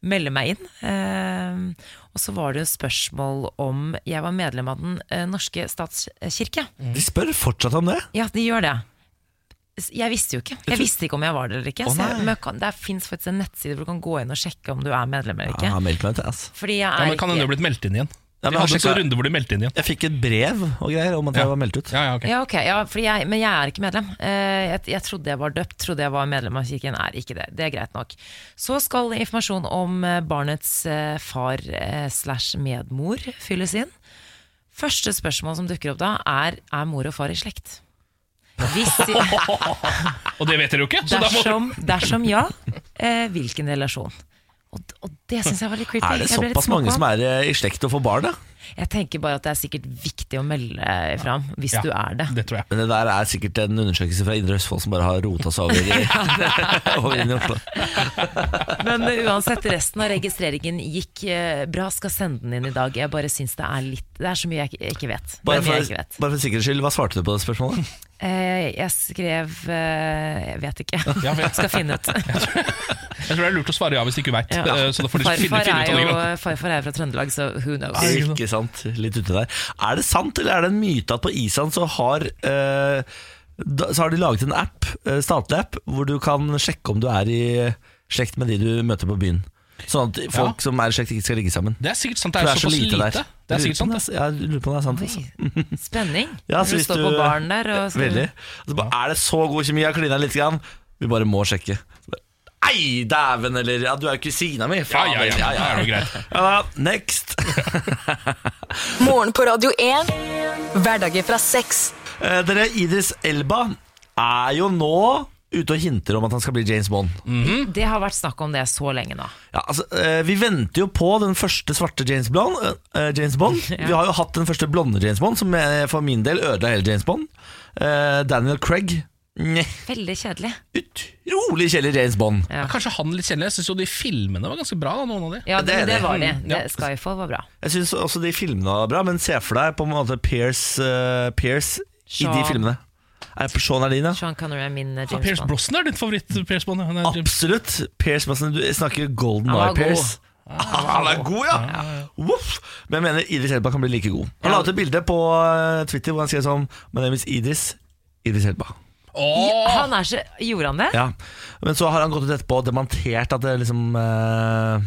melde meg inn. Ehm, og så var det jo spørsmål om jeg var medlem av den eh, norske statskirke.
De spør fortsatt om det.
Ja, de gjør det. S- Jeg visste jo ikke Jeg visste ikke om jeg var det eller ikke.
Å,
så jeg,
nei.
men jeg kan, det fins faktisk en nettside hvor du kan gå inn og sjekke om du er medlem eller
Ja,
ikke.
meldt meg ut, ass.
Fordi jeg
Ja,
er
men Kan hende du har blitt meldt inn igjen.
Ja,
Ja,
men
men
han
hadde en
altså-
sjekka-
runde hvor du meldte inn igjen.
Jeg fikk et brev og greier om at
Ja.
jeg var meldt ut.
Ja, ja, ok
Ja, ok, ja, fordi jeg, Men jeg er ikke medlem. Eh, jeg, jeg trodde jeg var døpt, trodde jeg var medlem av kirken. Er ikke det. Det er greit nok. Så skal informasjon om eh, barnets eh, far eh, slash medmor fylles inn. Første spørsmål som dukker opp da, er er mor og far i slekt. Hvis de,
Og det vet dere jo ikke! Så da må du...
dersom, dersom ja, eh, hvilken relasjon? Og, og det syns jeg var litt creepy.
Er det
Jeg ble litt
såpass mange
småkvalm.
som er eh, i slekt og får barn, da?
Jeg tenker bare at det er sikkert viktig å melde fram hvis
Ja,
du er det.
Det tror jeg.
Men det der er sikkert en undersøkelse fra Indre Østfold som bare har rota seg over i, over inn i Oslo.
Men eh, uansett, resten av registreringen gikk eh, bra. Skal sende den inn i dag. Jeg bare syns det er litt Det er så mye jeg ikke- ikke vet. Det
Bare
er mye
for,
jeg ikke vet.
bare for sikkerhets skyld, hva svarte du på det spørsmålet?
Eh, Jeg skrev eh, Jeg vet ikke.
Ja, vet.
Skal finne ut.
Jeg tror det er lurt å svare ja hvis du ikke veit.
Ja.
Så da får du finne,
Farfar
finne
er
ut av det.
jo
en gang.
farfar er jo fra Trøndelag, så who knows.
Nei.
Ikke sant, litt ute der. Er det sant, eller er det en myte at på Island så har eh, da, så har de laget en app, eh, statlig app, hvor du kan sjekke om du er i slekt med de du møter på byen. Sånn at folk som er i slekt, ikke skal ligge sammen.
Det er sikkert sant. Det
For
er, såpass lite. Det er
Jeg lurer
sikkert sånn
på om
sant.
det er- Jeg lurer på om det er sant. Altså.
Oi, Spenning.
Ja, så
du
hvis
står
du-
på baren der og skal-
Veldig. Og så bare, er det så god kjemi? Jeg klina litt. Grann. Vi bare må sjekke. Så bare, Ei, dæven, eller ja, Du er jo kusina mi!
Ja,
Faen,
ja, ja.
ja,
Det er jo greit.
Ja, next!
Morgen på Radio 1. Hverdager fra seks.
Eh, dere, Idris Elba er jo nå ute og hinter om at han skal bli James Bond.
Mm.
Mm, Det har vært snakk om det så lenge nå.
Ja, altså, eh, vi venter jo på den første svarte James Bond. eh, James Bond. Vi har jo hatt den første blonde James Bond, som eh, for min del ødela hele James Bond. Eh, Daniel Craig. Nye.
Veldig kjedelig.
Utrolig kjedelig James Bond.
Ja.
Kanskje han litt kjedelig. Jeg syns jo de filmene var ganske bra, da, noen av de.
Ja,
Det er
det, det
det.
var det.
Mm, ja.
det. Skyfall var bra.
Jeg syns også de filmene var bra, men se for deg på en måte Pierce, eh, Pierce i de
Sean.
filmene. Er det Sean er din, ja?
Sean Connery er min eh,
Ja,
James
Pierce
Bond.
Brosnan er din favoritt. Pierce Bond Han er James-
Absolutt. Pierce Brosnan, du snakker Golden
Han var
Eye Pierce. Han er god, ja! Voff. Men jeg mener Idris Elba kan bli like god. Han la ut et bilde på eh, Twitter hvor han skrev sånn My name is Idris. Idris Elba.
Åh!
Han er så, gjorde han det?
Ja. Men så har han gått ut etterpå og dementert at det liksom eh,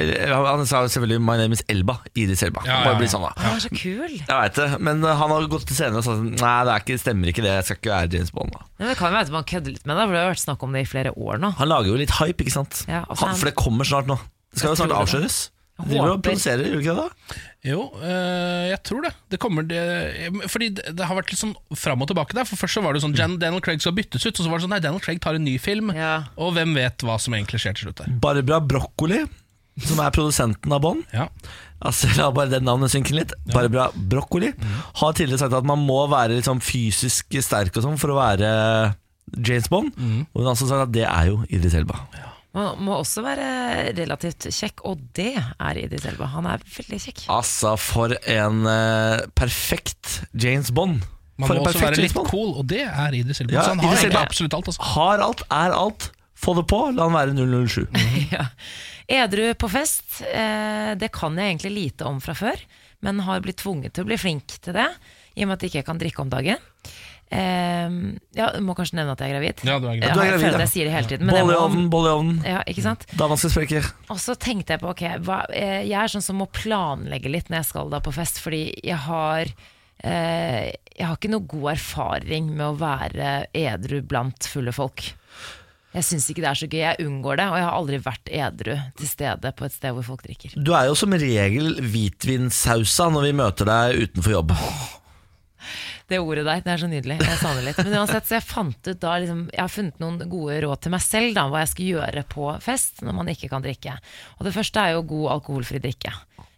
eller, Han sa jo selvfølgelig 'My name is Elba'. Idris Elba.
Ja, ja,
Bare bli
ja.
sånn, da.
Han er så kul.
Jeg veit det, men eh, han har gått til senere og sagt Nei, det er ikke, stemmer ikke det. Jeg skal ikke være James Bond. da
Nei, men det kan jo være at man kødder litt med det, for det har vært snakk om det i flere år nå.
Han lager jo litt hype, ikke sant?
Ja, og så er
han,
han-
for det kommer snart nå. Det skal jo
Jeg
snart
tror det.
avsløres. De driver og
håper.
produserer, gjør de ikke det? da?
Jo, eh, jeg tror det. Det kommer det, eh, Fordi det, det har vært litt sånn fram og tilbake der. For Først så var det sånn Jan, Daniel Craig skal byttes ut, og så var det sånn nei, Daniel Craig tar en ny film.
Ja.
Og hvem vet hva som egentlig skjer til slutt der.
Barbara Broccoli, som er produsenten av Bond
Ja.
Altså, La bare det navnet synke litt. Barbara Broccoli har tidligere sagt at man må være litt sånn fysisk sterk og sånn for å være James Bond. Og hun har også sagt at det er jo Idris Elba.
Man må også være relativt kjekk, og det er Idris Elba. Han er veldig kjekk.
Altså, for en eh, perfekt James Bond.
Man
for
må
en
også være
perfekt
litt cool, og det er Idris Elba.
Ja,
så han har
Idris Elba.
egentlig absolutt alt. Altså.
Har alt, er alt. Få det på, la han være 007.
Ja. Edru på fest, eh, det kan jeg egentlig lite om fra før, men har blitt tvunget til å bli flink til det, i og med at jeg ikke kan drikke om dagen. Eh, ja, jeg må kanskje nevne at jeg er gravid.
Ja, du er
Jeg
greit.
Du er
har-
gravid,
føler
ja.
at jeg sier det hele tiden. men jeg
Bolle i
må-
ovnen, bolle i ovnen.
Ja, ikke sant?
Dama skal spreke.
Og så tenkte jeg på, ok, hva, eh, jeg er sånn som må planlegge litt når jeg skal da på fest, fordi jeg har, eh, jeg har ikke noe god erfaring med å være edru blant fulle folk. Jeg syns ikke det er så gøy. Jeg unngår det, og jeg har aldri vært edru til stede på et sted hvor folk drikker.
Du er jo som regel hvitvinsausa når vi møter deg utenfor jobb.
Det ordet der, det er så nydelig. Jeg savner det litt. Men uansett, så jeg fant ut da liksom, Jeg har funnet noen gode råd til meg selv, da, hva jeg skal gjøre på fest når man ikke kan drikke. Og det første er jo god alkoholfri drikke.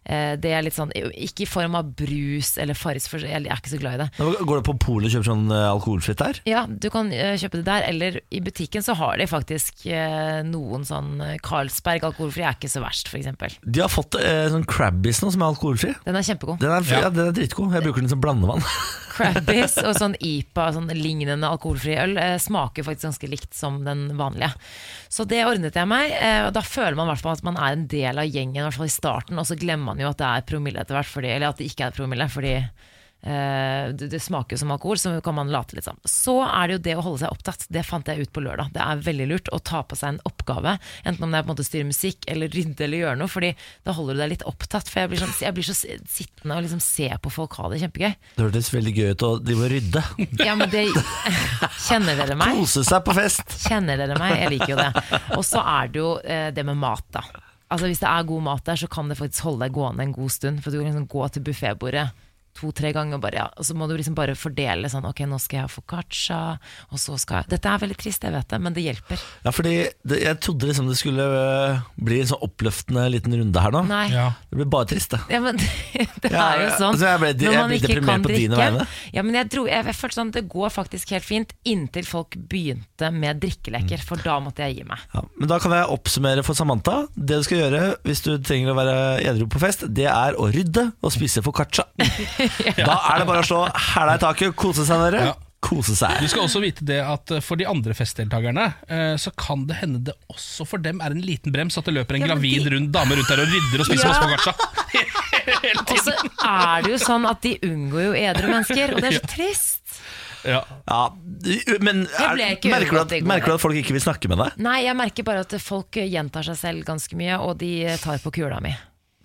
Eh, Det er litt sånn, Ikke i form av brus eller Farris, for jeg er ikke så glad i det.
Nå Går du på polet og kjøper sånn eh, alkoholfritt der?
Ja, du kan eh, kjøpe det der, eller i butikken så har de faktisk eh, noen sånn eh, Carlsberg alkoholfri er ikke så verst, f.eks.
De har fått eh, sånn Crabbis nå, som er alkoholfri.
Den er kjempegod.
Den er, f- ja, den er dritgod. Jeg bruker den som blandevann.
Crabbies og sånn IPA, sånn lignende alkoholfri øl, eh, smaker faktisk ganske likt som den vanlige. Så det ordnet jeg meg, eh, og da føler man i hvert fall at man er en del av gjengen, i hvert fall i starten, og så glemmer man jo at det er promille etter hvert, fordi, eller at det ikke er promille, fordi eh, det, det smaker jo som alkohol, så kan man late litt som. Så er det jo det å holde seg opptatt, det fant jeg ut på lørdag. Det er veldig lurt å ta på seg en oppgave, enten om det er på en måte styre musikk eller rydde eller gjøre noe, fordi da holder du deg litt opptatt, for jeg blir, sånn, jeg blir så sittende og liksom se på folk ha det kjempegøy.
Det hørtes veldig gøy ut å drive og rydde.
Ja, men det Kjenner dere meg?
Kose seg på fest.
Kjenner dere meg? Jeg liker jo det. Og så er det jo eh, det med mat, da. Altså Hvis det er god mat der, så kan det faktisk holde deg gående en god stund. For du kan liksom gå til buffébordet to-tre ganger, bare, ja. og så må du liksom bare fordele sånn Ok, nå skal jeg ha foccaccia, og så skal jeg Dette er veldig trist, jeg vet det, men det hjelper.
Ja, fordi det, Jeg trodde liksom det skulle eh, bli en sånn oppløftende liten runde her nå.
Nei.
Ja.
Det blir bare trist, det.
Ja, men det
Ja,
er jo
ja.
sånn.
Så jeg ble- jeg
Når man
ble
ikke
deprimert
kan
på dine
drikke-
vegne.
Ja, men jeg, dro, jeg, jeg følte sånn, det går faktisk helt fint inntil folk begynte med drikkeleker, for da måtte jeg gi meg.
Ja, men da kan jeg oppsummere for Samantha. Det du skal gjøre hvis du trenger å være edru på fest, det er å rydde og spise foccaccia. Da er det bare å slå hæla i taket, kose seg, dere.
Ja.
Kose seg.
Du skal også vite det at eh, for de andre festdeltakerne eh, så kan det hende det også for dem er en liten brems at det løper en
Ja, men
gravid
de-
rund dame rundt der og rydder og spiser
Ja.
masse foccaccia.
Og så er det jo sånn at de unngår jo edre mennesker, og det er så trist.
Ja.
Ja, men er,
ble ikke
merker, du
ødelagt i
at,
går.
merker du at folk ikke vil snakke med deg?
Nei, jeg merker bare at folk gjentar seg selv ganske mye, og de tar på kula mi.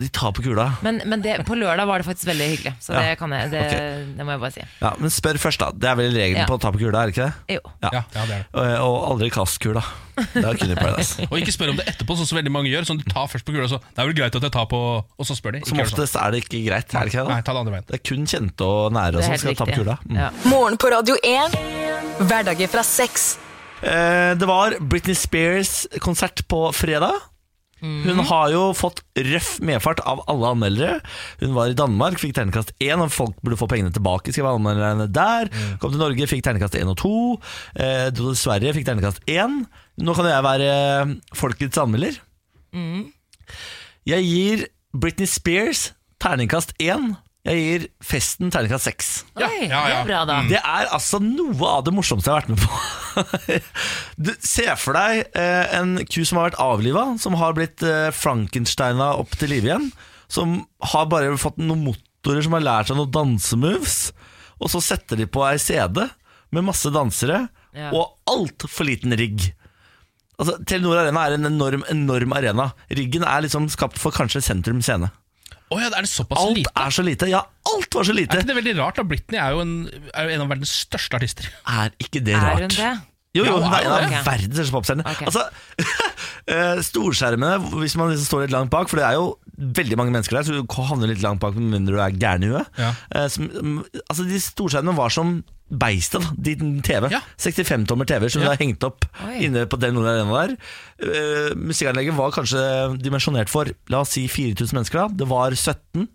De tar på kula.
Men, men det, på lørdag var det faktisk veldig hyggelig, så
Ja,
det, kan jeg, det,
ok.
det må jeg bare si.
Ja, Men spør først, da. Det er vel regelen
Ja.
på å ta på kula, er det ikke det?
Jo.
Ja, ja, det er det.
Og, og aldri kast kula. Det er Kunni Paradise.
Og ikke spør om det etterpå, sånn som veldig mange gjør. Sånn du tar først på kula, og så Det er vel greit at jeg tar på Og så spør de. Ikke
Som
gjør det sånn.
oftest er det ikke greit. Er det, ikke
Nei,
det, da?
ta det andre veien.
det er kun kjente og nære og
Det er
som
helt
skal ta på
riktig.
kula. Mm.
Ja.
Morgen på Radio 1. Hverdager fra seks.
Eh, det var Britney Spears konsert på fredag. Hun har jo fått røff medfart av alle anmeldere. Hun var i Danmark, fikk terningkast én, og folk burde få pengene tilbake. skrev anmelderne der. Kom til Norge, fikk terningkast én og to. Eh, dro til Sverige, fikk terningkast én. Nå kan jo jeg være folkets anmelder. Jeg gir Britney Spears terningkast én. Jeg gir festen terningkast seks.
Ja,
Oi,
ja,
det
ja.
er bra da.
Det er altså noe av det morsomste jeg har vært med på. Du ser for deg eh, en ku som har vært avliva, som har blitt eh, Frankensteina opp til live igjen. Som har bare fått noen motorer som har lært seg noen dansemoves. Og så setter de på ei CD med masse dansere
Ja.
og altfor liten rigg. Altså, Telenor Arena er en enorm, enorm arena. Riggen er liksom skapt for kanskje sentrum scene.
Å ja, er det såpass
Alt
lite?
er så lite. Ja, alt var så
Er
lite.
ikke det veldig rart? da? Britney er jo en, er jo en av verdens største artister.
Er ikke det rart?
Er hun det?
Jo, jo, hun er en av
Ok.
verdens største popstjerne.
Ok.
Altså, eh, storskjermene, hvis man liksom står litt langt bak, for det er jo veldig mange mennesker der, så du havner litt langt bak med mindre du er gæren i huet.
Ja.
Eh, som- mm, altså, de storskjermene var som beistet, da. De TV.
Ja.
65-tommer TV som
Ja.
de har hengt opp
Oi.
inne på den arena der. Eh, musikkanlegget var kanskje dimensjonert for, la oss si 4000 mennesker da. Det var 17.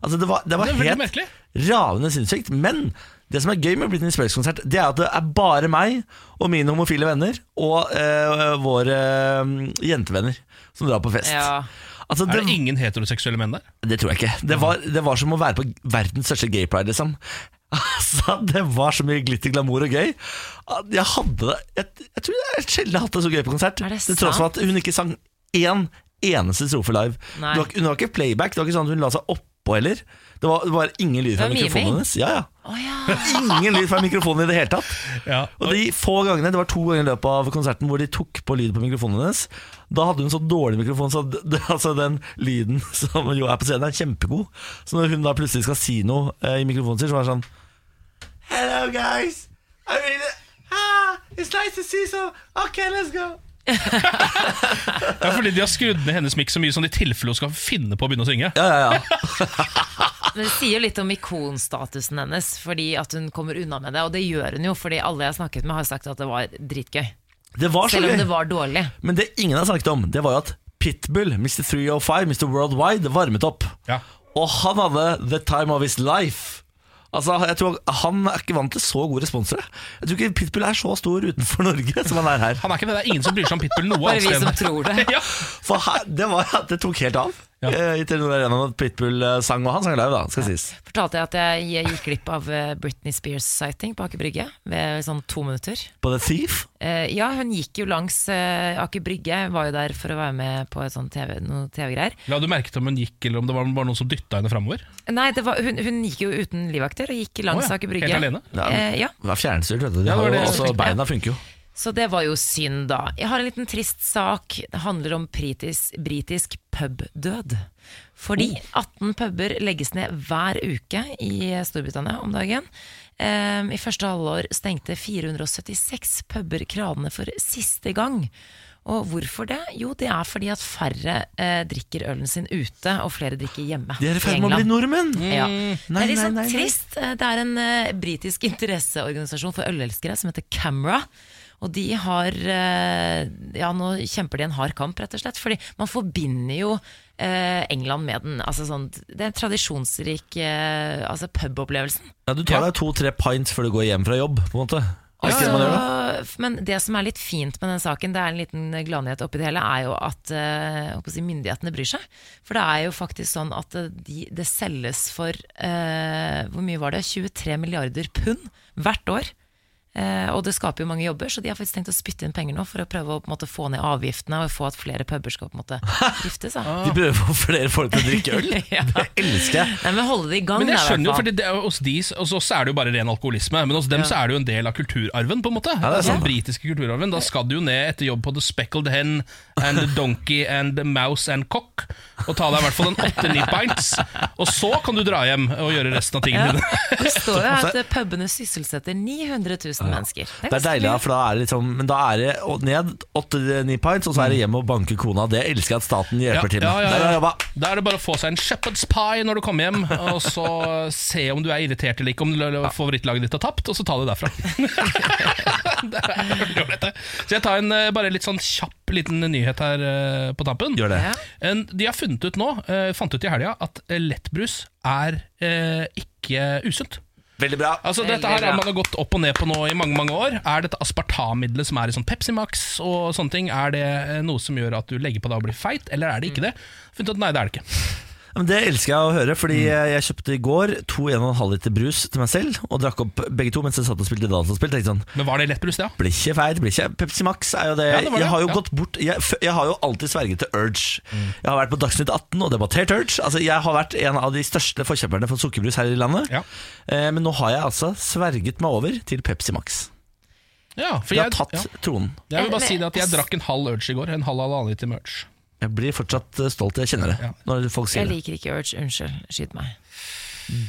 Altså, det var, det var
Det er veldig
helt
merkelig.
ravende sinnssykt. Men det som er gøy med Britney Spears-konsert, det er at det er bare meg og mine homofile venner og eh, våre eh, jentevenner som drar på fest.
Ja.
Altså,
Er
det,
det ingen heteroseksuelle menn der?
det tror jeg ikke. Det var,
Mm.
det var som å være på verdens største gay pride, liksom. Altså, det var så mye glitter, glamour og gøy. at Jeg hadde det Jeg, jeg tror jeg sjelden har hatt det så gøy på konsert.
Er det
Til tross for at hun ikke sang én eneste strofe live.
Nei.
Det var, hun var ikke playback, det var ikke sånn at hun la seg oppå heller. Det var, det var ingen lyd fra
Det var miming.
mikrofonen hennes. Ja, ja.
Å ja.
Ingen lyd fra mikrofonen i det hele tatt.
Ja,
Og de få gangene, Det var to ganger i løpet av konserten hvor de tok på lyd på mikrofonen hennes. Da hadde hun så dårlig mikrofon, så d- d- altså den lyden som jo er på scenen, er kjempegod. Så når hun da plutselig skal si noe eh, i mikrofonen sin, så var det sånn Hello guys, I really, ah, It's nice to see so Ok, let's go.
Ja, fordi de har skrudd ned hennes mikk så mye som de i tilfelle hun skal finne på å begynne å synge.
Ja, ja, ja.
Men det sier jo litt om ikonstatusen hennes, fordi at hun kommer unna med det. Og det gjør hun jo, fordi alle jeg har snakket med, har sagt at det var dritgøy.
Det var så
Selv om
gøy.
det var dårlig.
Men det ingen har snakket om, det var jo at Pitbull, Mr. 305, Mr. Worldwide varmet opp.
Ja.
Og han hadde the time of his life. Altså, jeg tror Han er ikke vant til så gode responser. Jeg tror ikke Pitbull er så stor utenfor Norge som han er her.
Han er ikke det, det er ingen som bryr seg om Pitbull noe
Bare
annet
vi
sted
som
enn-
tror det.
ja.
For her, det, var, det tok helt av.
Ja.
Eh, I Telenor Arena når Pitbull eh, sang, og han sang live, da, skal sies.
Fortalte jeg at jeg jeg gikk glipp av eh, Britney Spears-sighting på Aker Brygge ved sånn to minutter.
På The Thief.
Eh, ja, hun gikk jo langs eh, Aker Brygge, var jo der for å være med på et sånt TV, noe TV-greier.
La du merke til om hun gikk, eller om det var bare noen som dytta henne framover?
Nei, det var, hun, hun gikk jo uten livvakter og gikk langs
Å ja,
Aker Brygge.
helt alene?
Ja.
Eh, ja.
Det er fjernstyrt, vet du. De
Ja, det var
har jo,
det.
altså, beina funker jo.
Så det var jo synd, da. Jeg har en liten trist sak. Det handler om britisk, britisk pubdød. Fordi
Oh.
18 puber legges ned hver uke i Storbritannia om dagen. Ehm, I første halvår stengte 476 puber kranene for siste gang. Og hvorfor det? Jo, det er fordi at færre eh, drikker ølen sin ute, og flere drikker hjemme.
De er i ferd med
England.
å bli nordmenn!
Ja. det
Mm. Nei,
er litt
nei,
sånn
nei, nei.
trist. Eh, Det er en eh, britisk interesseorganisasjon for ølelskere som heter Camera. Og de har eh, Ja, nå kjemper de en hard kamp, rett og slett. Fordi man forbinder jo eh, England med den. Altså sånn, det er en tradisjonsrik eh, altså pubopplevelsen.
Ja, du tar deg to-tre pints før du går hjem fra jobb, på en måte. Er det ikke det man gjør da?
Så- Men det som er litt fint med den saken, det er en liten gladnyhet oppi det hele, er jo at eh, jeg håper å si, myndighetene bryr seg. For det er jo faktisk sånn at eh, de, det selges for eh, hvor mye var det? 23 milliarder pund hvert år. Eh, og det skaper jo mange jobber, så de har faktisk tenkt å spytte inn penger nå for å prøve å på en måte, få ned avgiftene og få at flere puber skal på en måte drifte seg.
De prøver å få flere folk til å drikke øl.
Ja.
Det elsker jeg.
Nei, men holde det i gang.
Men jeg
da, i hvert
skjønner jo,
fall.
fordi det, er- hos de, hos oss er det jo bare ren alkoholisme, men hos dem så er det jo en del av kulturarven, på en måte.
det er sant.
Den britiske kulturarven. Da skal du jo ned etter jobb på The Speckled Hen and The Donkey and The Mouse and Cock, og ta deg i hvert fall en åtte-ni pints, og så kan du dra hjem og gjøre resten av tingene dine.
Det står jo at eh, pubene sysselsetter 900 000 mennesker.
Ah. Det er deilig, ja, for da er det liksom Men da er det å- ned åtte-ni pints, og så er det hjem og banke kona. Det elsker jeg at staten hjelper til med.
Mm. Ja, ja, ja.
Der har jeg jobba.
Da er det bare å få seg en shepherd's pie når du kommer hjem, og så se om du er irritert eller ikke, om l- l- favorittlaget ditt har tapt, og så ta det derfra. det er veldig ålreit, det. Så jeg tar en eh, bare litt sånn kjapp liten nyhet her eh, på tampen.
Gjør det.
Ja.
En, de har funnet ut nå, eh, fant ut i helga, at eh, lettbrus er eh, ikke usunt.
Veldig bra.
Altså
Veldig
Dette her
bra.
har man har gått opp og ned på nå i mange mange år. Er dette aspartammiddelet som er i sånn Pepsi Max og sånne ting, er det eh, noe som gjør at du legger på deg og blir feit, eller er det
Mm.
ikke det? Funnet ut, Nei, det er det ikke.
Men det elsker jeg å høre, fordi
Mm.
eh, jeg kjøpte i går to 1,5 liter brus til meg selv, og drakk opp begge to mens jeg satt og spilte dataspill. Tenkte sånn
Men var det lettbrus, det? ja?
blir ikke feil, blir ikke Pepsi Max er jo det.
Ja, det var det,
jeg har jo
ja. Mm.
gått bort jeg, f- jeg har jo alltid sverget til Urge. Jeg har vært på Dagsnytt 18 og debattert Urge. Altså, jeg har vært en av de største forkjemperne for sukkerbrus her i landet.
Ja.
Eh, men nå har jeg altså sverget meg over til Pepsi Max.
Ja, for
De har
jeg,
tatt
ja.
tronen.
jeg
Eh,
vil bare si det at jeg drakk en halv Urge i går. En halv halvannen liter med Urge.
Jeg blir fortsatt eh, stolt, jeg kjenner det.
Ja.
Når folk
Jeg
sier det.
liker ikke Urge. Unnskyld, skyt meg.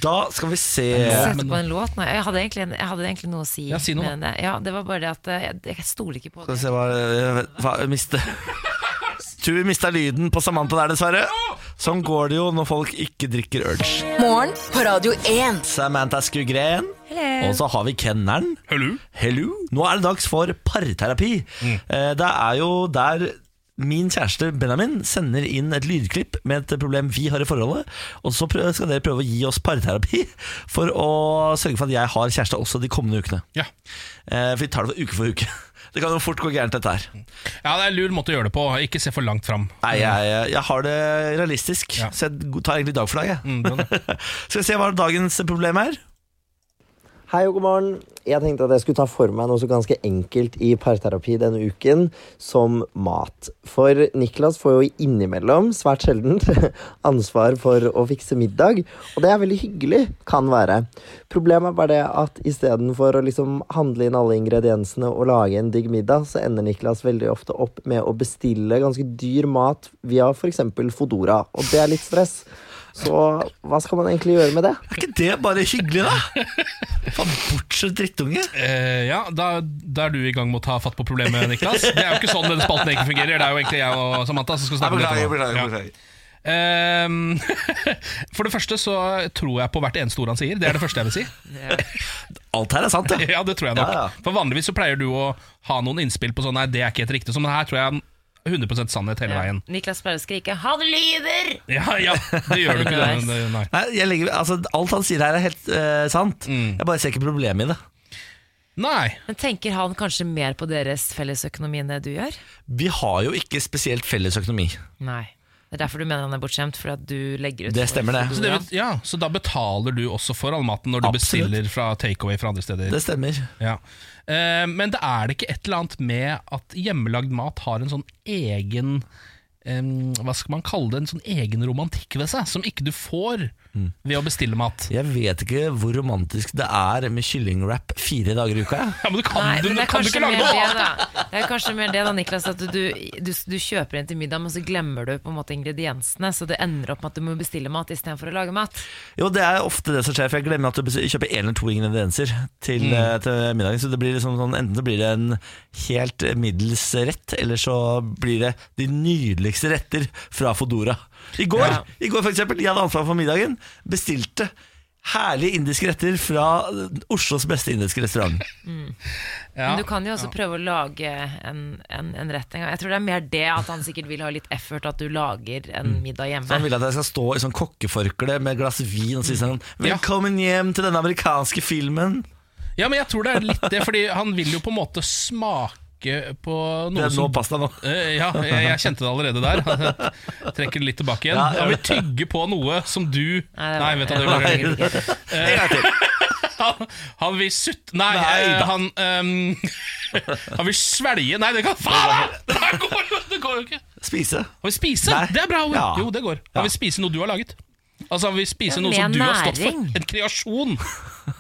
Da skal vi se
Sette på en låt? Nei, jeg hadde egentlig, jeg hadde egentlig noe å si.
Ja, si noe, da.
men, eh, ja, det var bare det at eh, jeg, jeg stoler ikke på
Skal vi
det.
se hva, eh, hva miste. Tror vi mista lyden på Samantha der, dessverre. Sånn går det jo når folk ikke drikker Urge.
Morgen på Radio 1.
Samantha Skugren. Og så har vi kenneren.
Hello? Mm.
Hello. Nå er det dags for parterapi. Eh, Det er jo der min kjæreste Benjamin sender inn et lydklipp med et problem vi har i forholdet, og så prø- skal dere prøve å gi oss parterapi for å sørge for at jeg har kjæreste også de kommende ukene.
Ja.
Eh, For vi tar det for uke for uke. Det kan jo fort gå gærent, dette her.
ja, det er en lur måte å gjøre det på. Ikke se for langt fram.
Nei, jeg, eh, jeg har det realistisk,
Ja.
så jeg tar egentlig dag for dag, jeg.
Mm, bra, da.
Skal vi se hva dagens problem er?
Hei og god morgen. Jeg tenkte at jeg skulle ta for meg noe så ganske enkelt i parterapi denne uken, som mat. For Niklas får jo innimellom, svært sjeldent, ansvar for å fikse middag. Og det er veldig hyggelig, kan være. Problemet er bare det at istedenfor å liksom handle inn alle ingrediensene og lage en digg middag, så ender Niklas veldig ofte opp med å bestille ganske dyr mat via f.eks. Fodora. Og det er litt stress. Så hva skal man egentlig gjøre med det?
Er ikke det bare hyggelig, da? Faen, bortsett drittunge.
Eh, ja, da, da er du i gang med å ta fatt på problemet, Niklas. Det er jo ikke sånn denne spalten egentlig fungerer. Det er jo egentlig jeg og Samantha som skal snakke om dette. nå. Ja. Ehm, for det første så tror jeg på hvert eneste ord han sier. Det er det første jeg vil si.
Alt her er sant, ja.
Ja, det tror jeg nok.
Ja, ja.
For vanligvis så pleier du å ha noen innspill på sånn Nei, det er ikke helt riktig. Så, men her tror jeg han 100 sannhet hele veien.
Niklas pleier å skrike 'han lyver'!
Ja, ja, det gjør du ikke.
Underveis.
Det, nei.
Nei, jeg legger, altså, alt han sier her, er helt eh, sant. Jeg bare ser ikke problemet i det.
nei.
Men tenker han kanskje mer på deres fellesøkonomi enn det du gjør?
Vi har jo ikke spesielt felles økonomi.
Nei. Det er derfor du mener han er bortskjemt, fordi at du legger ut
Det stemmer det.
Så, det, vil- ja, så da betaler du også for all maten når du
Absolutt.
bestiller fra takeaway fra andre steder?
Det stemmer.
Ja. Eh, men det er det ikke et eller annet med at hjemmelagd mat har en sånn egen em, hva skal man kalle det, en sånn egen romantikk ved seg, som ikke du får
Mm.
ved å bestille mat.
Jeg vet ikke hvor romantisk det er med kyllingwrap fire dager i uka. jeg.
Ja, men du kan,
Nei,
du,
men det er
kan du
kanskje
ikke
mer
lage noe
det,
annet!
da. Det er kanskje mer det da, Niklas, at du, du, du, du kjøper inn til middag, men så glemmer du på en måte ingrediensene, så det ender opp med at du må bestille mat istedenfor å lage mat.
Jo, det er ofte det som skjer, for jeg glemmer at du bes- kjøper én eller to ingredienser til,
Mm.
eh, til middagen. Så det blir liksom sånn, enten så blir det en helt middels rett, eller så blir det de nydeligste retter fra Fodora. I går,
Ja.
i går for eksempel, jeg hadde ansvar for middagen, bestilte herlige indiske retter fra Oslos beste indiske restaurant.
Ja.
Men du kan jo også prøve å lage en, en, en rett en gang. Jeg tror det er mer det at han sikkert vil ha litt effort, at du lager en middag
Så han
hjemme.
vil at jeg skal stå i sånn kokkeforkle med et glass vin og si sånn
Ja.
Velkommen hjem til denne amerikanske filmen.
ja, men jeg tror det er litt det, fordi han vil jo på en måte smake på
Det
noe
er nå
som
pasta nå.
Eh, ja, jeg, jeg kjente det allerede der. Trekker det litt tilbake igjen.
Ja, ja.
Han vil tygge på noe som du
Nei,
Nei,
det
vet
var-
du hva det
Nei.
var?
En gang til.
Han, han vil sutt... Nei,
Nei,
eh,
da.
han ehm, Han vil svelge Nei, det kan faen! da! Det her går jo det går jo ikke!
Spise.
Han vil spise!
Nei.
Det er bra ord.
Ja.
Jo, det går.
Ja.
Han vil spise noe du har laget. Altså Han vil spise
Ja,
noe
med
som du har stått for.
næring.
En kreasjon.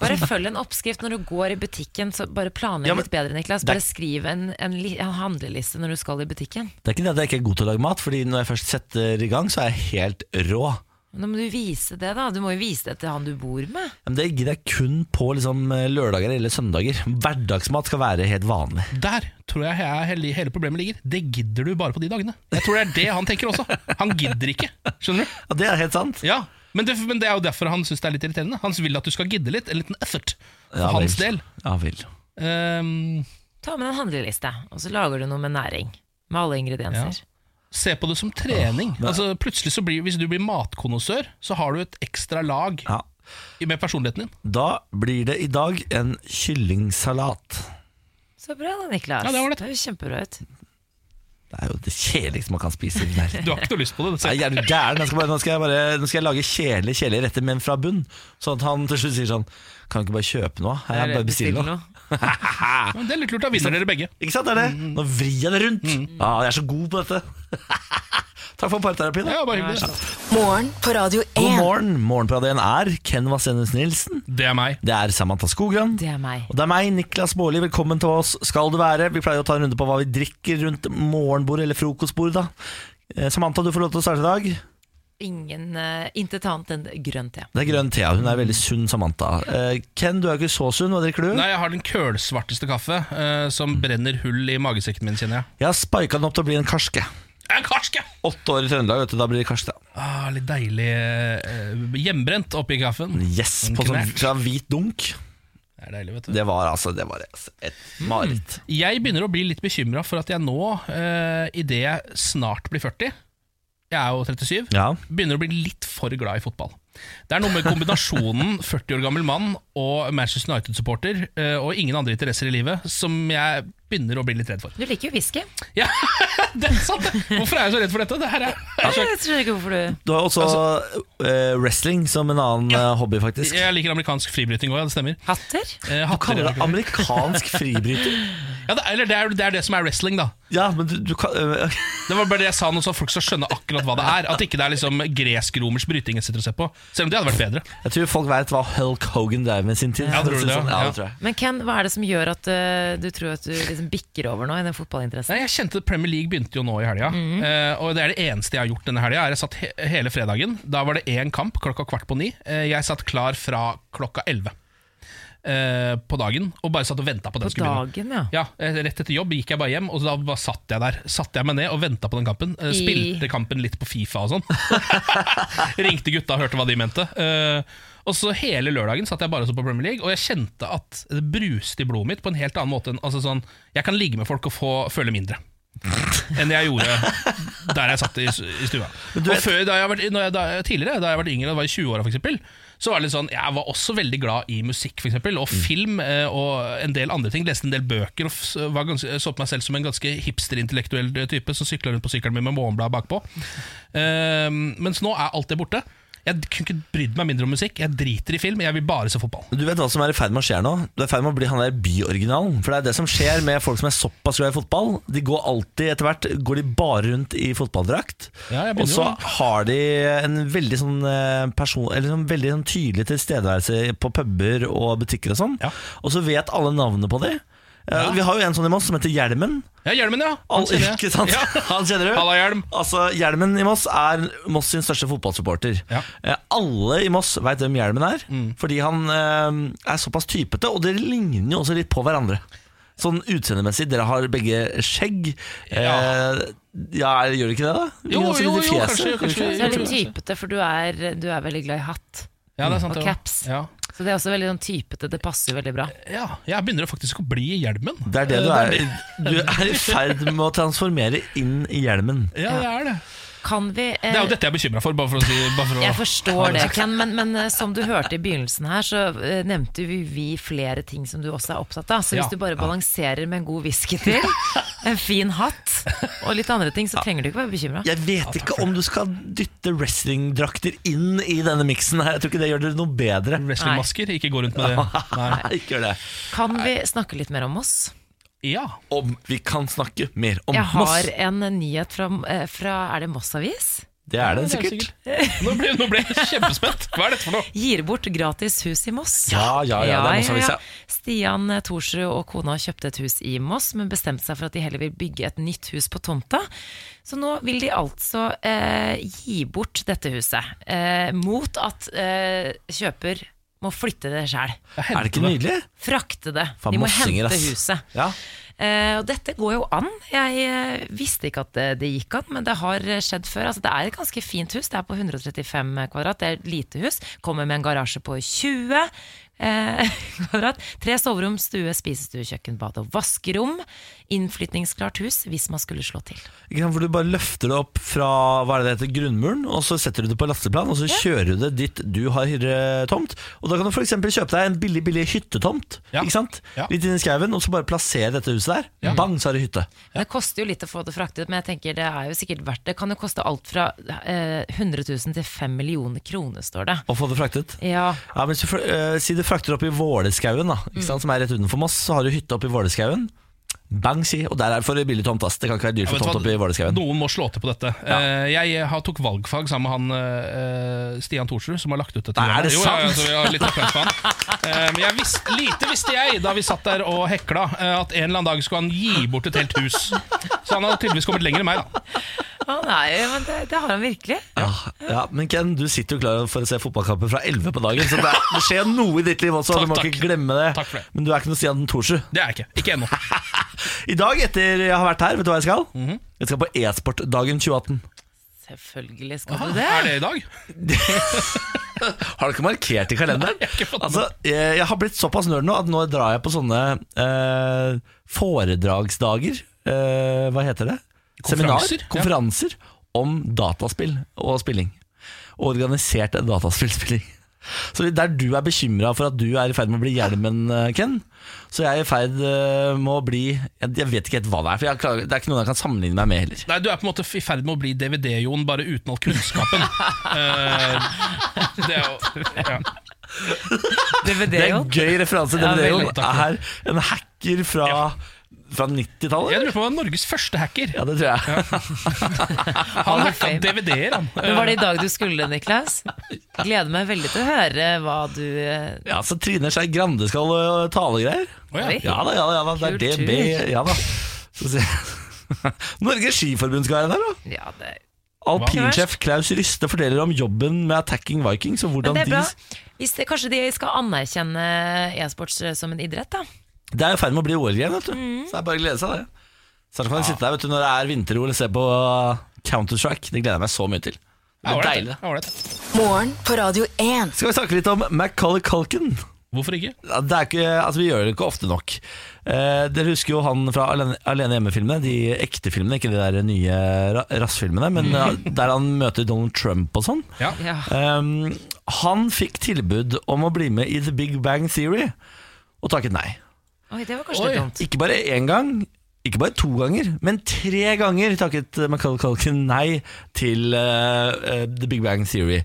Bare følg en oppskrift når du går i butikken. Så bare planlegg
Ja, men-
litt bedre, Niklas.
Det er-
Bare skriv en, en, li- en handleliste når du skal i butikken.
Det er ikke det at jeg ikke er god til å lage mat, Fordi når jeg først setter i gang, så er jeg helt rå.
Men Da må du vise det, da. Du må jo vise det til han du bor med.
Men det gidder jeg kun på liksom, lørdager eller søndager. Hverdagsmat skal være helt vanlig.
Der tror jeg he- hele, hele problemet ligger. Det gidder du bare på de dagene. Jeg tror det er det han tenker også. Han gidder ikke. Skjønner du?
Ja, det er helt sant.
Ja, men det, men det er jo derfor han syns det er litt irriterende. Han vil at du skal gidde litt. En liten effort for
Ja,
hans
vel.
del.
Ja vel.
Ehm,
Ta med en handleliste, og så lager du noe med næring. Med alle ingredienser.
se på det som trening. altså, plutselig så blir, Hvis du blir matkonnissør, så har du et ekstra lag
Ja.
i- med personligheten din.
Da blir det i dag en kyllingsalat.
Så bra da, Niklas.
Ja, det var det.
høres kjempebra ut.
Det er jo det kjedeligste man kan spise. den her.
Du har ikke noe lyst på det.
Nei,
Se.
jeg er du gæren? Jeg skal bare, nå, skal jeg bare, nå skal jeg lage kjedelige kjedelige retter, men fra bunn. Sånn at han til slutt sier sånn Kan du ikke bare kjøpe noe? Her,
Eller
bare bestill noe.
Men Det er litt lurt, da vinner dere begge.
Ikke sant, det er
Mm.
det? Nå vrir jeg det rundt. Ja, jeg er så god på dette. Takk for parterapi, da.
Ja, bare hyggelig.
Morgen på Radio
God
1.
morgen. Morgenpradien er Ken Vasenus Nilsen.
Det er meg.
Det er Samantha Skogran.
Det er meg.
Og det er meg, Niklas Baarli. Velkommen til oss skal du være. Vi pleier å ta en runde på hva vi drikker rundt morgenbordet eller frokostbordet. da. Eh, Samantha, du får lov til å starte i dag.
Ingen, eh, Intet annet enn grønn te.
Det er grønn te. ja. Hun er veldig sunn, Samantha. Eh, Ken, du er jo ikke så sunn. Hva drikker du?
Nei, Jeg har den kølsvarteste kaffe eh,
Mm.
som brenner hull i magesekken min, kjenner jeg.
Jeg har spika den opp til å bli en karske.
Jeg er En karsk, jeg!
Åtte år i Trøndelag, vet du, da blir det karske. da.
Ah, litt deilig eh, hjemmebrent oppi kaffen.
Yes,
En
på sånn
knert.
fra hvit dunk.
Det er deilig, vet du.
Det var altså det var altså et mareritt.
Jeg begynner å bli litt bekymra for at jeg nå, eh, idet jeg snart blir 40 Jeg er jo 37.
Ja.
begynner å bli litt for glad i fotball. Det er noe med kombinasjonen 40 år gammel mann og Manchester United-supporter eh, og ingen andre interesser i livet som jeg begynner å bli litt redd for.
Du liker jo whisky.
Ja, det er sant! det. Hvorfor er jeg så redd for dette? Det her er,
Jeg skjønner ikke hvorfor du
Du har også eh, wrestling som en annen eh, hobby, faktisk.
jeg liker amerikansk fribryting òg, ja, det stemmer.
Hatter?
Du
Eh, hatter-
kaller det amerikansk fribryter.
ja, det, eller det er, det er det som er wrestling, da.
Ja, men du, du kan øh,
Det var bare det jeg sa nå, så folk skal skjønne akkurat hva det er. At ikke det er liksom gresk-romersk bryting jeg sitter og ser på. Selv om det hadde vært bedre.
Jeg tror folk vet hva Hulk Hogan drev med i sin tid.
Ja, tror
For å
du
si
det,
sånn.
ja.
ja, det tror jeg.
Men Ken, hva er det som gjør at eh, du tror at du liksom bikker over nå i den fotballinteressen?
Nei, jeg kjente at Premier League begynte jo nå i helga. eh, og det er det eneste jeg har gjort denne helga. er Jeg satt he hele fredagen. Da var det én kamp klokka kvart på ni. Eh, jeg satt klar fra klokka elleve eh, på dagen og bare satt og venta på at den
På
skulle begynne.
dagen, ja.
Ja, eh, Rett etter jobb gikk jeg bare hjem, og da bare satt jeg der. Satt jeg meg ned og venta på den kampen. Eh,
I-
Spilte kampen litt på Fifa og sånn. Ringte gutta og hørte hva de mente. Eh, og så Hele lørdagen satt jeg bare og så på Premier League, og jeg kjente at det bruste i blodet mitt på en helt annen måte. Enn, altså sånn, jeg kan ligge med folk og få føle mindre. Enn jeg gjorde der jeg satt i, i stua. Og før, da jeg har vært, når jeg, da, tidligere, da jeg har vært yngre, da jeg var i 20-åra f.eks., så var det litt sånn, jeg var også veldig glad i musikk for eksempel,
Mm.
og film eh, og en del andre ting. Leste en del bøker og f- var ganske, så på meg selv som en ganske hipsterintellektuell type som sykla rundt på sykkelen min med morgenblad bakpå. Eh, mens nå er alt det borte. Jeg kunne ikke brydd meg mindre om musikk. Jeg driter i film, jeg vil bare se fotball.
Men Du vet hva som er i ferd med å skje nå? Du er i ferd med å bli han der byoriginalen. For det er det som skjer med folk som er såpass glad i fotball. De går alltid, etter hvert, går de bare rundt i fotballdrakt.
Ja, jeg begynner
og så
jo da.
har de en veldig sånn eh, person, eller sånn veldig sånn tydelig tilstedeværelse på puber og butikker og sånn.
Ja.
Og så vet alle navnene på de. Eh,
Ja.
Vi har jo en sånn i Moss som heter Hjelmen.
Ja, Hjelmen, ja! Han
Al
kjenner jeg.
ikke sant?
Ja.
Han kjenner du?
Halla, Hjelm.
Altså, Hjelmen i Moss er Moss sin største fotballsupporter.
Ja. Mm.
Eh, alle i Moss veit hvem Hjelmen er, fordi han eh, er såpass typete, og dere ligner jo også litt på hverandre. Sånn utseendemessig. Dere har begge skjegg.
Ja.
Eh, ja, gjør dere ikke det, da?
Jo,
Ligner også
jo,
litt i
jo,
fjeset,
kanskje-
gjør dere ikke det?
Så
kanskje-
er det litt typete, for du er, du er veldig glad i hatt.
Ja, det er sant,
Og
det også.
caps.
Ja.
Så det er også veldig sånn typete, det passer jo veldig bra.
ja, jeg begynner faktisk å bli i hjelmen.
Det er det du
Eh,
er. Du er i ferd med å transformere inn i hjelmen.
Ja, det er det.
Kan vi eh,
Det er jo dette jeg er bekymra for. Bare for å si, bare for å,
Jeg forstår det, Ken, men, men eh, som du hørte i begynnelsen her, så eh, nevnte vi, vi flere ting som du også er opptatt av. Så hvis
Ja.
du bare balanserer med en god whisky til, en fin hatt og litt andre ting, så trenger du ikke være bekymra.
Jeg vet ikke om du skal dytte wrestlingdrakter inn i denne miksen her. Jeg tror ikke det gjør det noe bedre.
Wrestlingmasker, ikke gå rundt med det. Nei.
Ikke gjør det.
Kan vi snakke litt mer om oss?
Ja.
Om vi kan snakke mer om
Jeg
Moss.
har en nyhet fra, eh, fra Er det Moss Avis?
Det er det
det er
sikkert.
Nå ble, nå ble jeg kjempespent. Hva er dette for noe?
Gir bort gratis hus i Moss.
Ja, ja, ja, det er Moss Avis, ja.
Stian eh, Thorsrud og kona kjøpte et hus i Moss, men bestemte seg for at de heller vil bygge et nytt hus på tomta. Så nå vil de altså eh, gi bort dette huset, eh, mot at eh, kjøper må flytte det sjæl.
Er det ikke nydelig?
Frakte det.
Faen,
de må
mossinger,
hente
ass.
huset.
Ja.
Eh, og dette går jo an. Jeg eh, visste ikke at det, det gikk an, men det har eh, skjedd før. Altså, det er et ganske fint hus. Det er på 135 kvadrat. Det er et lite hus. Kommer med en garasje på 20 eh, kvadrat. Tre soverom, stue, spisestue, kjøkken, bad og vaskerom. Innflytningsklart hus hvis man skulle slå til.
Ikke sant, for Du bare løfter det opp fra hva er det det heter, grunnmuren, og så setter du det på lasteplan, og så kjører du det dit du har hyretomt. Og Da kan du f.eks. kjøpe deg en billig billig hyttetomt
Ja.
Ikke sant?
Ja.
litt inn i skauen, og så bare plassere dette huset der. Bang, så er det hytte.
Men Det koster jo litt å få det fraktet, men jeg tenker det er jo sikkert verdt det. Kan jo koste alt fra eh, 100 000 til 5 millioner kroner, står det.
Og få det fraktet.
Ja,
Ja, men hvis du, fl- eh, Si du frakter opp i Våleskauen, da, ikke sant, som er rett utenfor Moss, så har du hytte opp i Våleskauen. Bang, si. Og der er det for billig tomt. ass. Det kan ikke være dyrt
Ja,
for
vet du
tomt
hva?
oppe i Våleskauen.
Noen må slå til på dette. Eh, Jeg har tok valgfag sammen med han eh, Stian Thorsrud, som har lagt ut dette.
Nei, er det
jo, ja, ja,
sant?
så vi har litt applaus for han. Eh, Men jeg visste- lite visste jeg, da vi satt der og hekla, eh, at en eller annen dag skulle han gi bort et helt hus. Så han har tydeligvis kommet lenger enn meg, da.
ah, nei, men det, det har han virkelig.
Ja, ja, Men Ken, du sitter jo klar for å se fotballkampen fra 11 på dagen, så det, er, det skjer noe i ditt liv også.
Takk,
du må
takk.
ikke glemme det.
Takk for det.
Men du er ikke noe Stian Thorsrud.
Det er jeg ikke. Ikke ennå.
I dag, etter jeg har vært her, vet du hva jeg skal?
Mhm.
Jeg skal på e-sportdagen 2018.
Selvfølgelig skal du det.
Er det i dag?
Har du ikke markert i kalenderen?
Nei, jeg har ikke fått med.
altså, jeg, jeg har blitt såpass nerd nå at nå drar jeg på sånne eh, foredragsdager. Eh, hva heter det?
Konferanser,
Seminar,
ja.
konferanser om dataspill og spilling. Og organisert dataspillspilling. Så Der du er bekymra for at du er i ferd med å bli hjelmen, eh, Ken, så jeg er i ferd eh, med å bli Jeg jeg vet ikke helt hva det er, for jeg klarer, det er ikke noen jeg kan sammenligne meg med heller.
Nei, du er på en måte i ferd med å bli DVD-Jon, bare uten all kunnskapen. Eh, det er jo ja.
DVD,
Det er
jo.
en gøy referanse.
Ja,
Den
veldig.
videoen er en hacker fra fra 90-tallet?
Jeg
eller?
lurer på om han var Norges første hacker.
Ja, det tror jeg.
Han
of
hacka
Fame.
DVD-er, han. Eh,
Men var det i dag du skulle, Niklas? Gleder meg veldig til å høre hva du eh,
Ja, Så Trine Skei Grande skal øh, tale greier?
Å, ja.
Oi.
Ja da, ja da. ja da Det er
Kul
DB.
tur.
Ja da. Så se- Norges Skiforbund skal være der, da.
Ja, det
Alpinsjef Klaus Ryste forteller om jobben med Attacking Vikings. Og hvordan
Men det er bra.
de
Hvis det, kanskje de skal anerkjenne e-sports eh, som en idrett, da.
Det er i ferd med å bli OL igjen, vet du. Så det er bare å glede seg, det. Så da kan jeg sitte der vet du, når det er vinter-OL og se på uh, Counter-Strike. Det gleder jeg meg så mye til. Det
Ja,
blir
ålreit,
deilig.
ja, ålreit.
Morgen på Radio 1.
Skal vi snakke litt om Macaulay Culkin?
Hvorfor ikke?
Ja, Det er ikke, altså Vi gjør det ikke ofte nok. Eh, dere husker jo han fra Alene, Alene hjemme-filmene. De ekte filmene, ikke de der nye ra- rassfilmene. Men eh, der han møter Donald Trump og sånn.
Ja.
Ja.
Um, han fikk tilbud om å bli med i The Big Bang Theory, og takket nei.
Oi, det var kanskje
Oi.
litt dumt.
Ikke bare én gang, ikke bare to ganger, men tre ganger takket Macaulay Culkin nei til eh, eh, The Big Bang Theory.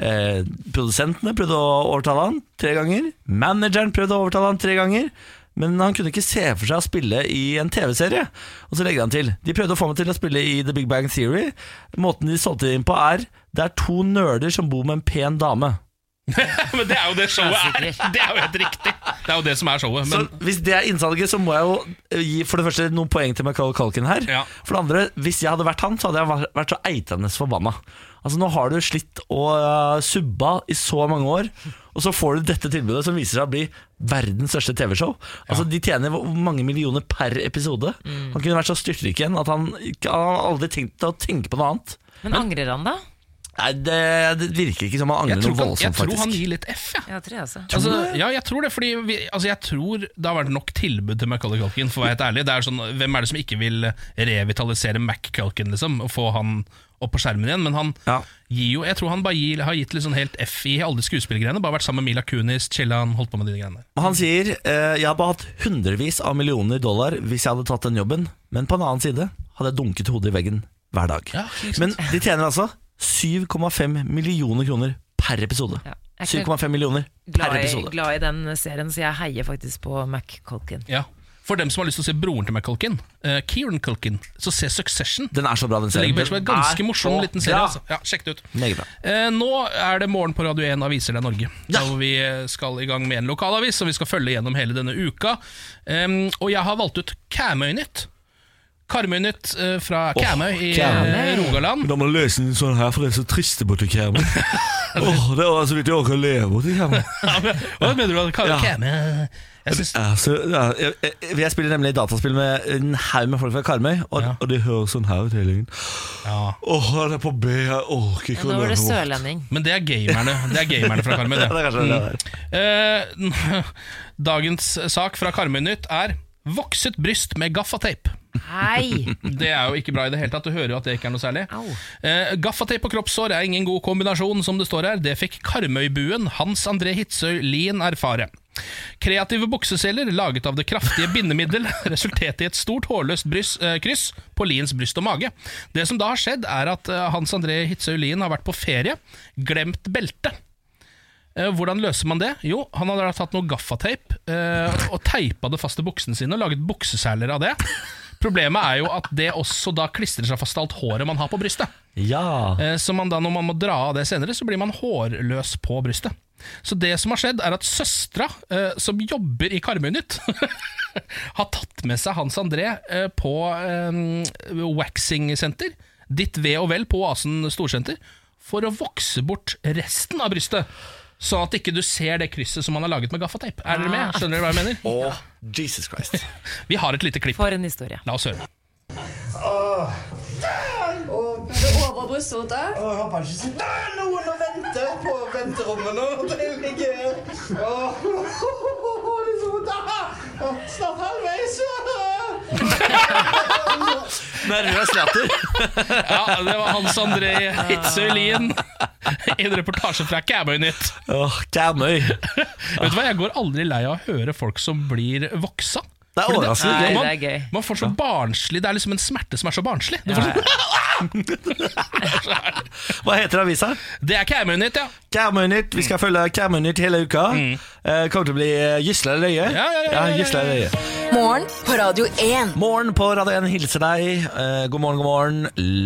Eh, produsentene prøvde å overtale han tre ganger. Manageren prøvde å overtale han tre ganger. Men han kunne ikke se for seg å spille i en TV-serie. Og så legger han til De prøvde å få meg til å spille i The Big Bang Theory. Måten de solgte det inn på, er Det er to nerder som bor med en pen dame.
Men det er jo det showet er!
Ja, sikkert.
Det er jo helt riktig! Det er jo det som er showet. Men
så hvis det er innsalget, så må jeg jo eh, gi for det første noen poeng til Macaulay Culkin her.
Ja.
For det andre, hvis jeg hadde vært han, så hadde jeg vært- vært så eitende forbanna. Altså, nå har du slitt og eh, subba i så mange år, og så får du dette tilbudet som viser seg å bli verdens største TV-show. Altså, De tjener hvor mange millioner per episode.
Mm.
Han kunne vært så styrtrik igjen at han, ikke- han hadde aldri tenkt å tenke på noe annet.
Men angrer han, da?
Nei, Det, det virker ikke som han
jeg
angrer
tror,
noe
han, jeg
voldsomt,
tror han
faktisk.
gir litt F, ja.
Ja, tror jeg også.
Altså, ja, jeg tror det, fordi vi, altså, jeg tror det har vært nok tilbud til Macaulay Culkin, for å være helt ærlig. Det er sånn, hvem er det som ikke vil revitalisere Mac Culkin, liksom, og få han opp på skjermen igjen? Men han
Ja.
gir jo Jeg tror han bare gir, har gitt litt sånn helt F i alle de skuespillergreiene. Bare vært sammen med Mila Kunis, chilla, han holdt på med de greiene der.
Han sier eh, jeg hadde hatt hundrevis av millioner dollar hvis jeg hadde tatt den jobben, men på en annen side hadde jeg dunket hodet i veggen hver dag.
Ja, ikke sant.
men de tjener altså 7,5 millioner kroner per episode.
Ja, jeg er ikke
7,5 millioner per
glad i,
episode.
glad i den serien, så jeg heier faktisk på Mac Colkin.
Ja. For dem som har lyst til å se broren til Mac Culkin, eh, Kieran Culkin, så se Succession.
Den er så bra, den
Det
serien.
ligger bare som en
Den
ganske
er
morsom
så
liten serie.
bra.
Altså. Ja, sjekk det ut.
Meget bra.
Eh, nå er det morgen på Radio 1 Aviser det er Norge. Ja. Hvor vi eh, skal i gang med en lokalavis som vi skal følge gjennom hele denne uka. Em, og jeg har valgt ut Kæmøynytt. Karmøynytt eh, fra Kæmøy i eh, Rogaland.
Da må du løse den sånn her, for det er så trist borti Kjermen. Åh, det er så vidt jeg orker å leve borti Kjermen.
Hva mener du? Kæmøy?
Ja.
Kæmøy. Jeg synes,
Altså, ja, jeg, jeg, jeg spiller nemlig dataspill med en haug med folk fra Karmøy, og,
Ja.
og de hører sånn her ut hele tiden.
ja.
Åh, han er på B, jeg orker ikke
Nå var det
leve bort.
sørlending.
Men det er gamerne Det er gamerne fra Karmøy.
Ja, det er kanskje det det
Eh, dagens sak fra Karmøy Nytt er 'Vokset bryst med gaffateip'.
Hei!
Det er jo ikke bra i det hele tatt. Du hører jo at det ikke er noe særlig.
Au.
Eh, Gaffateip og kroppssår er ingen god kombinasjon, som det står her. Det fikk Karmøybuen Hans André Hitzøy Lien erfare. Kreative bukseseler laget av det kraftige bindemiddel resulterte i et stort hårløst brys, eh, kryss på Liens bryst og mage. Det som da har skjedd, er at eh, Hans André Hitzøy Lien har vært på ferie, glemt beltet. Eh, Hvordan løser man det? Jo, han hadde da tatt noe gaffateip eh, og teipa det fast til buksene sine og laget bukseseler av det. Problemet er jo at det også da klistrer seg fast til alt håret man har på brystet.
Ja.
Eh, Så man da, når man må dra av det senere, så blir man hårløs på brystet. Så det som har skjedd, er at søstera, eh, som jobber i Karmøynytt, har tatt med seg Hans André eh, på eh, waxingsenter, ditt ve og vel på Oasen storsenter, for å vokse bort resten av brystet. Sånn at ikke du ser det krysset som man har laget med gaffateip. Er dere med? Skjønner dere hva jeg mener?
Åh, Jesus Christ.
Vi har et lite klipp.
For en historie.
La oss høre.
over brystvorta.
Jeg håper ikke sånn Det er noen å vente på venterommet nå! Det ligger her. Åh, det er så vondt. Ah, ah, Snart halvveis! Ah.
Nervøs latter.
Ja, det var Hans André Hitzøy Lien i en reportasje fra Kæbøynytt.
Åh, Karmøy.
Vet du hva, Jeg går aldri lei av å høre folk som blir voksa.
Det er
Fordi
overraskende
Nei,
gøy.
det
man,
er gøy.
man får så barnslig Det er liksom en smerte som er så barnslig. Du får sånn,
Hva heter avisa?
Det er Kærmøynytt, ja.
Kærmøynytt. Vi skal følge Kærmøynytt hele uka. Eh, Kommer til å bli eh, Gisle eller Øye.
Mm. Ja, ja, ja, ja, ja,
Gisle eller Øye.
Morgen på Radio 1.
Morgen på Radio 1 hilser deg. Eh, God morgen, god morgen.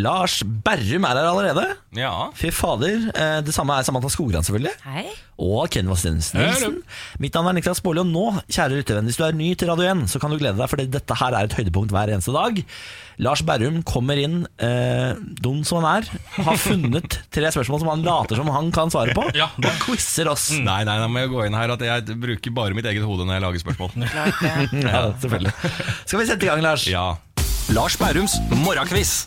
Lars Berrum er her allerede.
ja.
Fy fader. Eh, Det samme er Samantha Skogran, selvfølgelig.
Hei.
og Ken Vastenus Nilsen. Mitt navn er Niklas Baarli, og nå, kjære lyttervenn, hvis du er ny til Radio 1, så kan du glede deg, for dette her er et høydepunkt hver eneste dag. Lars Berrum kommer inn, eh, dum som han er, har funnet tre spørsmål som han later som han kan svare på,
Ja, det-
og quizer oss.
Nei, nei, nå må jeg gå inn her at jeg bruker bare mitt eget hode når jeg lager spørsmål.
Ja, selvfølgelig. Skal vi sette i gang, Lars?
Ja. Lars Bærums morgenkviss.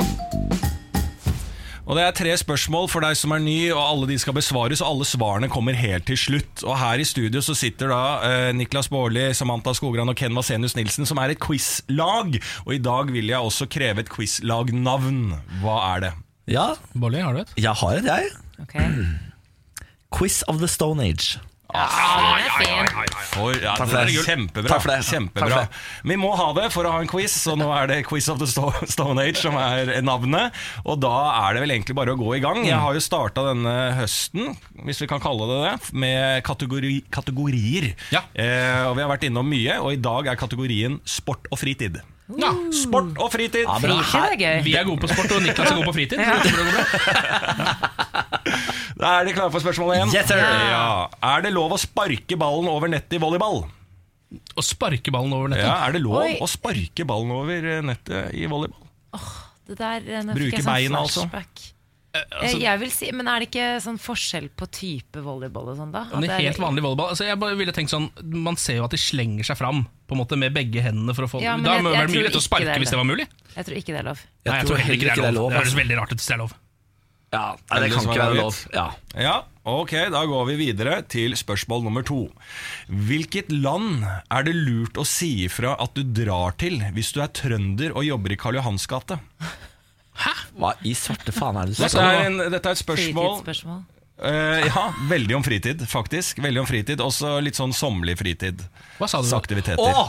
Og Det er tre spørsmål for deg som er ny, og alle de skal besvares. Og alle svarene kommer helt til slutt. Og Her i studio så sitter da eh, Niklas Baarli, Samantha Skogran og Ken Vasenius Nilsen, som er et quizlag. Og i dag vil jeg også kreve et quizlagnavn. Hva er det?
Ja,
Bolli, har du et?
jeg har et, jeg.
Ok. Ah,
Quiz of the Stone Age.
Ja, den er fin.
For, ja,
Takk for
det er
det.
gull. Kjempebra.
Takk for det.
Kjempebra.
Takk for
Vi må ha det for å ha en quiz, så nå er det Quiz of the Sto- Stone Age som er navnet. Og da er det vel egentlig bare å gå i gang. Jeg har jo starta denne høsten, hvis vi kan kalle det det, med kategori, kategorier.
Ja.
Eh, og vi har vært innom mye, og i dag er kategorien sport og fritid.
Ja.
Sport og fritid!
Fritid er gøy.
Vi er gode på sport, og Niklas er god på fritid. så det burde gå bra.
Da er de klare for spørsmål én.
Yes, sir.
ja. Er det lov å sparke ballen over nettet i volleyball?
Å sparke ballen over nettet.
Ja, Er det lov
Oi.
å sparke ballen over eh, nettet i volleyball?
Det der, eh, nå
Bruke
fikk jeg sånn
beina, altså.
flashback.
altså-
Eh, Jeg vil si, men er det ikke sånn forskjell på type volleyball og sånn, da? At
Men
det
i
er-
helt vanlig volleyball altså jeg bare ville tenkt sånn Man ser jo at de slenger seg fram På en måte med begge hendene for å få
Ja, men
Da
jeg-
må det
jeg
være
tror
mye lett å
ikke
sparke
det er
hvis
det.
det var mulig
Jeg tror ikke det er lov.
Nei, jeg tror heller ikke det er lov Det høres
altså.
veldig rart ut hvis det er lov
Ja, nei, det
Eller
kan
som
ikke
er
være lov.
laget.
Ja.
Ja, ok, da går vi videre til spørsmål nummer to. Hvilket land er det lurt å si ifra at du drar til hvis du er trønder og jobber i Karl Johans gate?
Hva i svarte faen er det du
Dette
snakker om?
er, en, dette er et spørsmål
Fritidsspørsmål.
eh, Ja, veldig om fritid, faktisk. Veldig om fritid, Også litt sånn sommerlig fritid.
Hva sa du?
Altså,
Aktiviteter.
Å!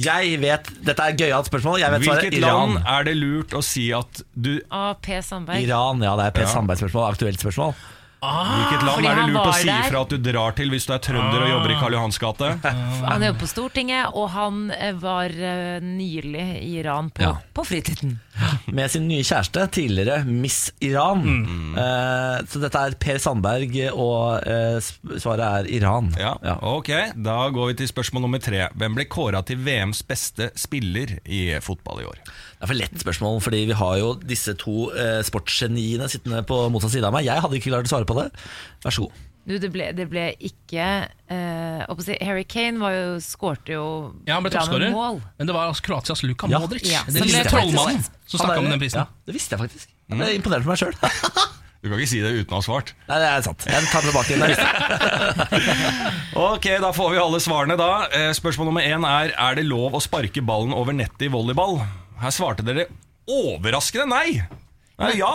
Jeg vet Dette er gøyalt spørsmål. Jeg vet svaret.
Hvilket land
Iran.
er det lurt å si at du
Ah, P. Sandberg.
Iran, ja, det er
Ja.
Per Sandberg-spørsmål. Aktuelt spørsmål.
Hvilket
Ah,
land
fordi
er det
han
lurt å
var
si
der.
ifra at du drar til hvis du er trønder og jobber i Karl Johans gate?
Ah.
Han jobber på Stortinget, og han eh, var eh, nylig i Iran på,
Ja.
på fritiden.
Med sin nye kjæreste, tidligere Miss Iran. Eh, så dette er Per Sandberg, og eh, sp- svaret er Iran.
Ja. ok. Da går vi til spørsmål nummer tre. Hvem ble kåra til VMs beste spiller i fotball i år?
Det er for lett spørsmål, fordi vi har jo disse to eh, sportsgeniene sittende på motsatt side av meg. Jeg hadde ikke klart å svare på det. Vær så god.
Du, det ble, det ble ikke eh, å si, Harry Kane var jo, skårte jo
Ja, han ble
bra med
toppskårer
mål.
Men det var altså Kroatias Luka
Ja.
Modric
Ja,
Den
så
lille
det er faktisk-
trollmannen som
Han er-
snakket om den prisen
Ja, det visste jeg faktisk. Jeg ble imponert over meg sjøl.
Du kan ikke si det uten å ha svart.
Nei, det er sant. Jeg tar det tilbake. igjen. Jeg visste det.
Ok, Da får vi alle svarene, da. Eh, Spørsmål nummer én er Er det lov å sparke ballen over nettet i volleyball. Her svarte dere overraskende nei. Nei, ja.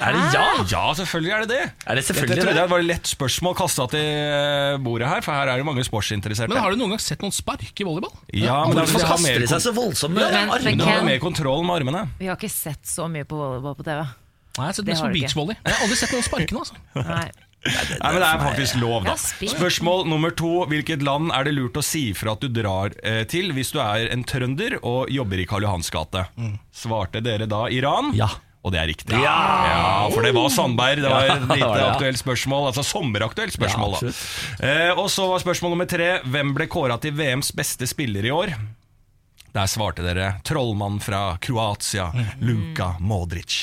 Ah,
Er det ja?
Ja, selvfølgelig er det det.
Er det selvfølgelig
Dette
det?
trodde jeg var et lett spørsmål kasta til eh, bordet her, for her er det mange sportsinteresserte.
Men har du noen gang sett noen spark i volleyball?
ja, men det er
Hvorfor
fordi du har
kaster
mer,
de seg så voldsomt med
men-
armene?
men
du har
Ken-
mer kontroll med armene.
Vi har ikke sett så mye på volleyball på TV.
Nei, jeg har sett
Det
mest
har
på
du ikke.
beachvolley Jeg har aldri sett noen sparke nå altså.
Nei.
Nei, men Det er faktisk lov,
Ja,
da.
spill.
Spørsmål nummer to. Hvilket land er det lurt å si fra at du drar eh, til hvis du er en trønder og jobber i Karl Johans gate? Svarte dere da Iran?
Mm. Ja.
Og det er riktig. Ja, For det var Sandberg. Det var et
det
lite
var det, ja.
aktuelt spørsmål. Altså sommeraktuelt
Ja,
spørsmål, da. Eh, og så var spørsmål nummer tre. Hvem ble kåra til VMs beste spiller i år? Der svarte dere trollmann fra Kroatia,
Mm.
Luka Modric.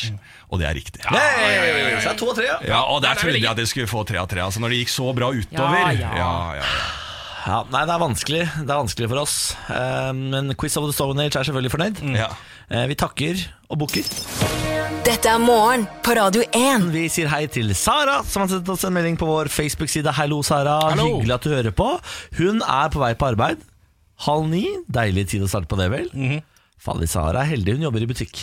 Og det er riktig. Ja,
Hey, så er det to og tre, ja.
ja, og der
det er
trodde
veldig
jeg at jeg skulle få tre av tre. Altså når det gikk så bra utover.
Ja,
ja.
ja.
ja, ja.
Ja, nei, det er vanskelig. Det er vanskelig for oss. Eh, Men Quiz of the Stone Age er selvfølgelig fornøyd.
Ja.
Eh, Vi takker og bukker.
Dette er morgen på Radio 1.
Vi sier hei til Sara, som har sendt oss en melding på vår Facebook-side. Hallo, Sara.
Hallo.
Hyggelig at du hører på. Hun er på vei på arbeid. Halv ni. Deilig tid å starte på det, vel?
Mhm.
Fader, Sara er heldig. Hun jobber i butikk.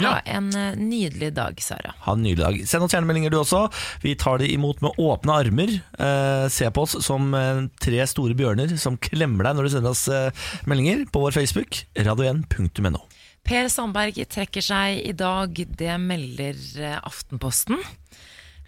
Ha en eh, nydelig dag, Sara.
Ha en nydelig dag. Send oss gjerne meldinger, du også. Vi tar det imot med åpne armer. Eh, se på oss som eh, tre store bjørner som klemmer deg når du sender oss eh, meldinger på vår Facebook, radio1.no.
P3 Per Sandberg trekker seg i dag, det melder eh, Aftenposten.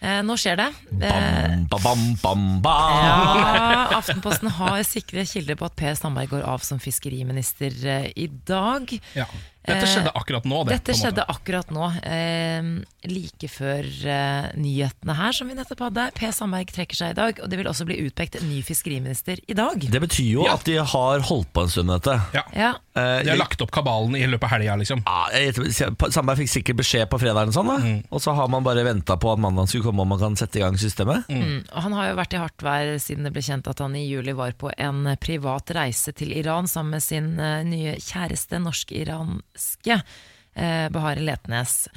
Eh, nå skjer det. Eh,
Bam, ba, bam, bam, bam.
ja, Aftenposten har sikre kilder på at Per Sandberg går av som fiskeriminister eh, i dag.
Ja. Dette
Eh,
skjedde akkurat nå. Det,
Dette
på en måte.
skjedde akkurat nå, eh, like før eh, nyhetene her som vi nettopp hadde. Per Sandberg trekker seg i dag, og det vil også bli utpekt en ny fiskeriminister i dag.
Det betyr jo
Ja.
at de har holdt på en stund, dette.
Ja.
Ja,
Eh,
De har lagt opp kabalen i løpet av helga, liksom.
Ja, jeg vet- Sandberg fikk sikkert beskjed på fredagen, sånn, da.
Mm.
og så har man bare venta på at mandagen skulle komme og man kan sette i gang systemet.
mm. Og Han har jo vært i hardt vær siden det ble kjent at han i juli var på en privat reise til Iran sammen med sin eh, nye kjæreste, norsk-iranske eh, Bahare Letnes.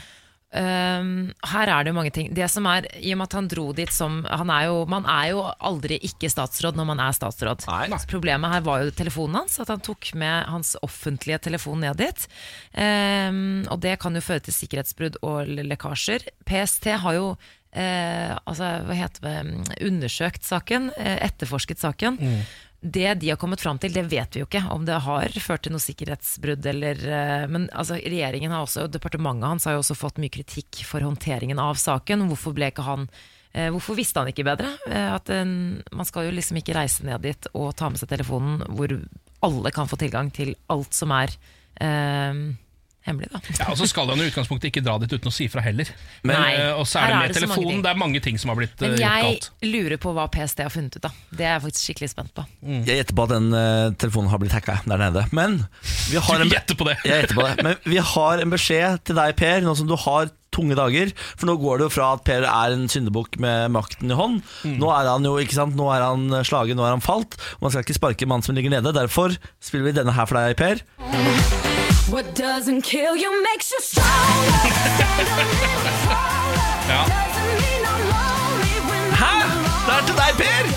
Um, her er det jo mange ting. Det som er, I og med at han dro dit som han er jo, Man er jo aldri ikke statsråd når man er statsråd.
Nei.
Problemet her var jo telefonen hans, at han tok med hans offentlige telefon ned dit. Um, og det kan jo føre til sikkerhetsbrudd og le- lekkasjer. PST har jo eh, altså, hva heter det, um, undersøkt saken, eh, etterforsket saken. Det de har kommet fram til, det vet vi jo ikke, om det har ført til noe sikkerhetsbrudd eller eh, Men altså, regjeringen har også, og departementet hans har jo også fått mye kritikk for håndteringen av saken. Hvorfor ble ikke han Eh, hvorfor visste han ikke bedre? Eh, at en, Man skal jo liksom ikke reise ned dit og ta med seg telefonen hvor alle kan få tilgang til alt som er eh, hemmelig, da.
Ja, og så skal han i utgangspunktet ikke dra dit uten å si fra heller.
Men- Nei,
Eh, og så er
her er
det med
det så mange
telefonen.
ting.
Det er mange ting som har blitt eh,
Men
gjort
jeg
galt.
lurer på hva PST har funnet ut, da. Det er jeg faktisk skikkelig spent på.
Jeg gjetter på at den eh, telefonen har blitt hacka der nede. Men vi har en,
Du gjetter på det.
Jeg gjetter på det. Men vi har en beskjed til deg, Per, nå som du har tunge dager. For nå går det jo fra at Per er en syndebukk med makten i hånd. Nå er han jo, ikke sant, nå er han slagen, nå er han falt. Man skal ikke sparke en mann som ligger nede. Derfor spiller vi denne her for deg, Per.
What doesn't kill you makes you stronger.
Ja.
Hæ? Det er til deg, Per!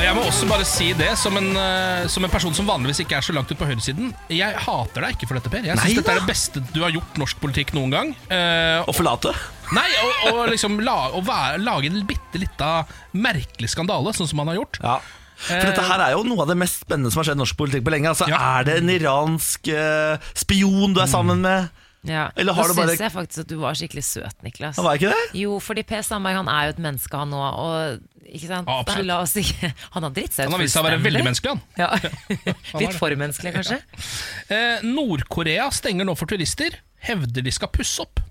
Og Jeg må også bare si det som en, eh, som en person som vanligvis ikke er så langt ut på høyresiden. Jeg hater deg ikke for dette, Per. Jeg
Nei
syns dette
da.
er det beste du har gjort norsk politikk noen gang. Eh,
Å forlate.
Nei, og, og liksom la, å være, lage en bitte lita merkelig skandale, sånn som han har gjort.
Ja. For dette her er jo noe av det mest spennende som har skjedd i norsk politikk på lenge. Altså,
Ja.
Er det en iransk eh, spion du er sammen med?
Ja.
Eller har
Nå
du bare-
syns jeg faktisk at du var skikkelig søt, Niklas.
Han var ikke det?
Jo, fordi Per Sandberg han er jo et menneske, han òg. Og ikke sant?
Ja, absolutt.
La oss ikke Han har dritt seg ut
Han har vist seg å være veldig
fullstendig.
menneskelig, han.
Ja.
det.
Litt for menneskelig, kanskje.
Eh, Nord-Korea stenger nå for turister, hevder de skal pusse opp.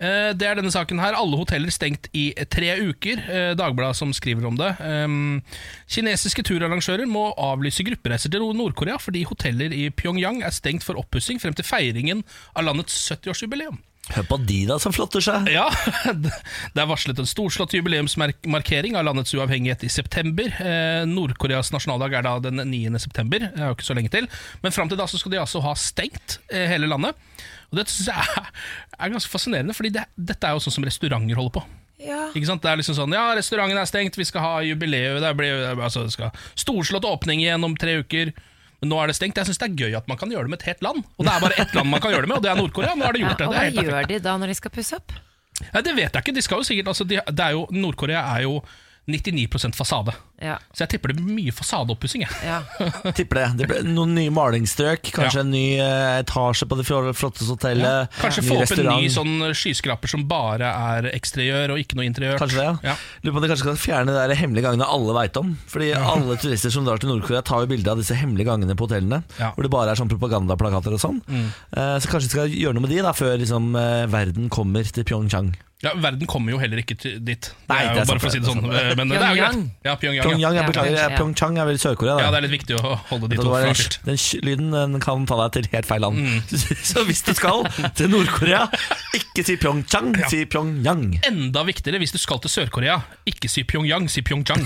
Eh, det er denne saken her. Alle hoteller stengt i tre uker. Eh, Dagbladet som skriver om det. Ehm, kinesiske turarrangører må avlyse gruppereiser til Nord-Korea fordi hoteller i Pyongyang er stengt for oppussing frem til feiringen av landets 70-årsjubileum.
Hør på de da som flotter seg.
Ja, Det er varslet en storslått jubileumsmarkering av landets uavhengighet i september. Eh, Nord-Koreas nasjonaldag er da den 9. september. Det er jo ikke så lenge til. Men fram til da så skal de altså ha stengt eh, hele landet. Og Dette synes jeg er, er ganske fascinerende, Fordi det, dette er jo sånn som restauranter holder på. Ikke sant? Det er liksom sånn, ja, Restauranten er stengt, vi skal ha jubileum. Det blir, altså, det skal Storslått åpning igjen om tre uker. Men nå er det stengt. Jeg syns det er gøy at man kan gjøre det med et helt land. Og det er bare ett land man kan gjøre det med, og det er Nord-Korea. Nå har de
Ja,
gjort det.
og
det er
hva
helt perfekt.
gjør de da når de skal pusse opp?
Nei, det vet jeg ikke. De skal jo sikkert altså, de, det er jo, Nord-Korea er jo 99 fasade.
Ja.
Så jeg tipper det blir mye fasadeoppussing. jeg.
Ja.
Tipper det. det ble noen nye malingsstrøk, kanskje
Ja.
en ny eh, etasje på det fjol- flotteste hotellet.
Kanskje få opp en ny sånn skyskraper som bare er eksteriør og ikke noe interiør.
Kanskje det, ja.
ja.
Lurer på om de kanskje skal fjerne de der hemmelige gangene alle veit om. Fordi alle turister som drar til Nord-Korea tar jo bilde av disse hemmelige gangene på hotellene.
Ja. Mm.
Hvor det bare er sånn propagandaplakater og sånn. Eh, så kanskje de skal gjøre noe med de da før liksom, eh, verden kommer til Pyeongchang.
Ja, verden kommer jo heller ikke til dit. Det
Nei,
er jo
det er sant,
bare for å si det
det er
sånn. Men det er jo greit.
Pyongyang.
Ja, Pyongyang. ja.
Pyeongchang, jeg
Ja,
beklager,
Pyeongchang,
eh,
ja.
Pyeongchang er vel Sør-Korea, da.
ja, det er litt viktig å holde de
Det
to
var den,
fraskilt.
den sj- lyden den kan ta deg til helt feil land.
Mm.
Så hvis du skal til Nord-Korea, ikke si Pyeongchang, si Pyongyang.
Enda viktigere hvis du skal til Sør-Korea. Ikke si Pyongyang, si Pyeongchang.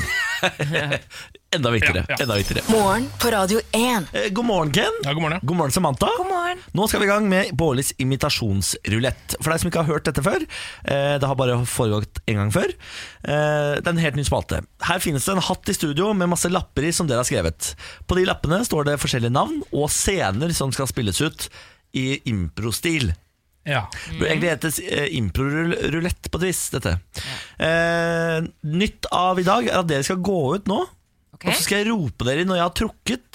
Enda viktigere.
Ja, ja.
Enda viktigere.
Morgen på Radio 1.
Eh, God morgen, Ken.
Ja, god morgen.
God morgen, Samantha. Nå skal vi i gang med Bårlis imitasjonsrulett. For deg som ikke har hørt dette før, eh, det har bare foregått en gang før. Eh, Det er en helt ny spalte. Her finnes det en hatt i studio med masse lapper i som dere har skrevet. På de lappene står det forskjellige navn og scener som skal spilles ut i improstil.
Ja.
Det burde egentlig hetes eh, improrulett på et vis, dette. Eh, nytt av i dag er at dere skal gå ut nå,
Ok.
og så skal jeg rope dere inn når jeg har trukket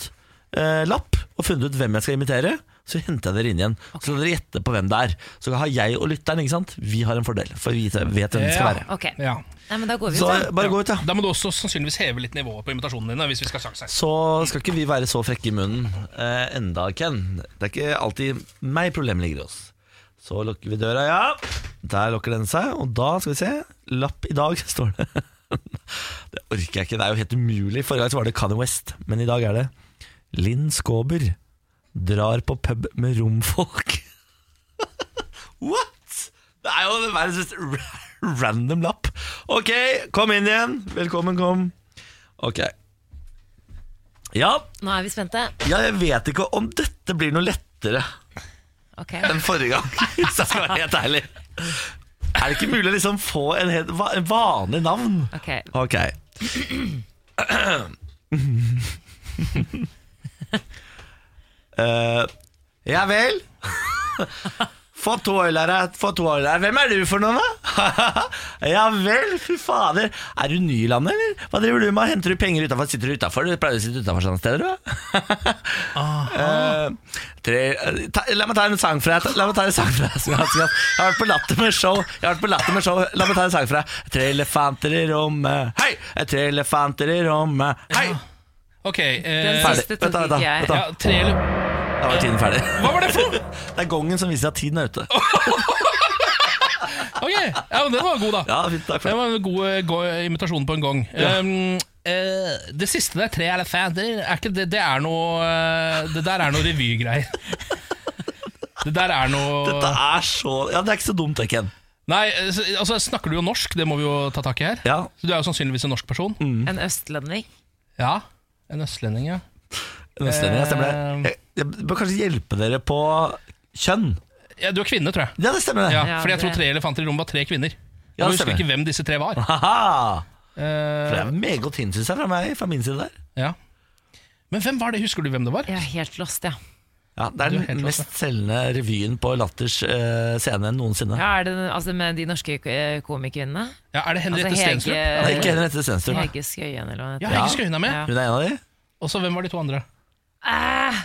eh, lapp og funnet ut hvem jeg skal imitere. så henter jeg dere inn igjen. Så dere gjetter på hvem det er. Så har jeg og lytteren, ikke sant? Vi har en fordel, for vi vet hvem det skal
Ja.
være.
Ok,
Ja.
Nei, men da går vi ut
Så
da.
bare gå ut, ja.
Da må du også sannsynligvis heve litt nivået på invitasjonene dine. Hvis vi skal sjanse.
Så skal ikke vi være så frekke i munnen eh, enda, Ken. Det er ikke alltid meg problemet ligger hos. Så lukker vi døra, ja. Der lukker den seg, og da skal vi se. Lapp i dag, står det. det orker jeg ikke, det er jo helt umulig. Forrige gang så var det Kanye West, men i dag er det Linn Skåber drar på pub med romfolk. What?! Det er jo verdens mest ra- random lapp. Ok, kom inn igjen. Velkommen, kom. Ok. Ja,
Nå er vi spente.
ja, jeg vet ikke om dette blir noe lettere
Ok,
enn forrige gang, hvis jeg skal være helt ærlig. Er det ikke mulig å liksom få en helt va- en vanlig navn?
ok
Ok. Eh, ja vel? Få to øl her, jeg. få to øl her. Hvem er du for noen, da? ja vel, fy fader. Er du ny i landet, eller? Hva driver du med? Henter du penger utafor? Sitter du utafor? Du pleier å sitte utafor sånne steder, du. Eh, tre, eh, ta, la meg ta en sang for deg. La meg ta en sang for deg. som Jeg har- som jeg har jeg har vært på latter med show. Jeg har vært på latter med show La meg ta en sang for deg. Tre elefanter i rommet, hei! Tre elefanter i rommet, hei!
Ok,
Den
eh,
ferdig.
siste
Vent da, vent
tok
da,
ikke jeg.
vent da.
ja, tre eller
Da var tiden ferdig.
Hva var det for noe?
Det er gongen som viser at tiden er ute.
Ok, ja, men Den var god, da.
Ja, fint, takk for det.
Det var en god, eh, god imitasjon på en gang. Um, eh, det siste der, tre elefanter, er ikke det, det er noe eh, Det der er noe revygreier. Det der
Dette
er noe
er så Ja, det er ikke så dumt, det, Ken.
Nei, eh, s- altså snakker du jo norsk? Det må vi jo ta tak i her.
Ja.
Så Du er jo sannsynligvis en norsk person.
Mm.
En østlending.
Ja, En østlending, ja.
Østlending, jeg stemmer det. Jeg, jeg bør kanskje hjelpe dere på kjønn.
ja. Du er kvinne, tror jeg.
Ja, det stemmer, det.
Ja,
Ja,
fordi jeg
det-
tror tre elefanter i rommet var tre kvinner.
Ja,
Jeg
det
husker
stemmer. Ah,
ikke hvem disse tre var.
Haha.
Eh,
For det er meget godt hint, syns jeg, fra meg, fra min side der.
ja. Men hvem var det? Husker du hvem det var?
Jeg er helt lost, ja.
Ja, Det er
Du er
den
helt
mest
lost,
selgende revyen på Latters eh, scene noensinne.
ja er det, altså Med de norske eh, komikvinnene?
Ja, er det Henriette
Altså Hege,
Stenstrup?
Det er ikke Henriette Stenstrup. Hun
Hege Skøyen, eller hva
Ja,
heter.
Hege Skøyen er med.
Ja.
er en av de.
Og så hvem var de to andre?
Ah!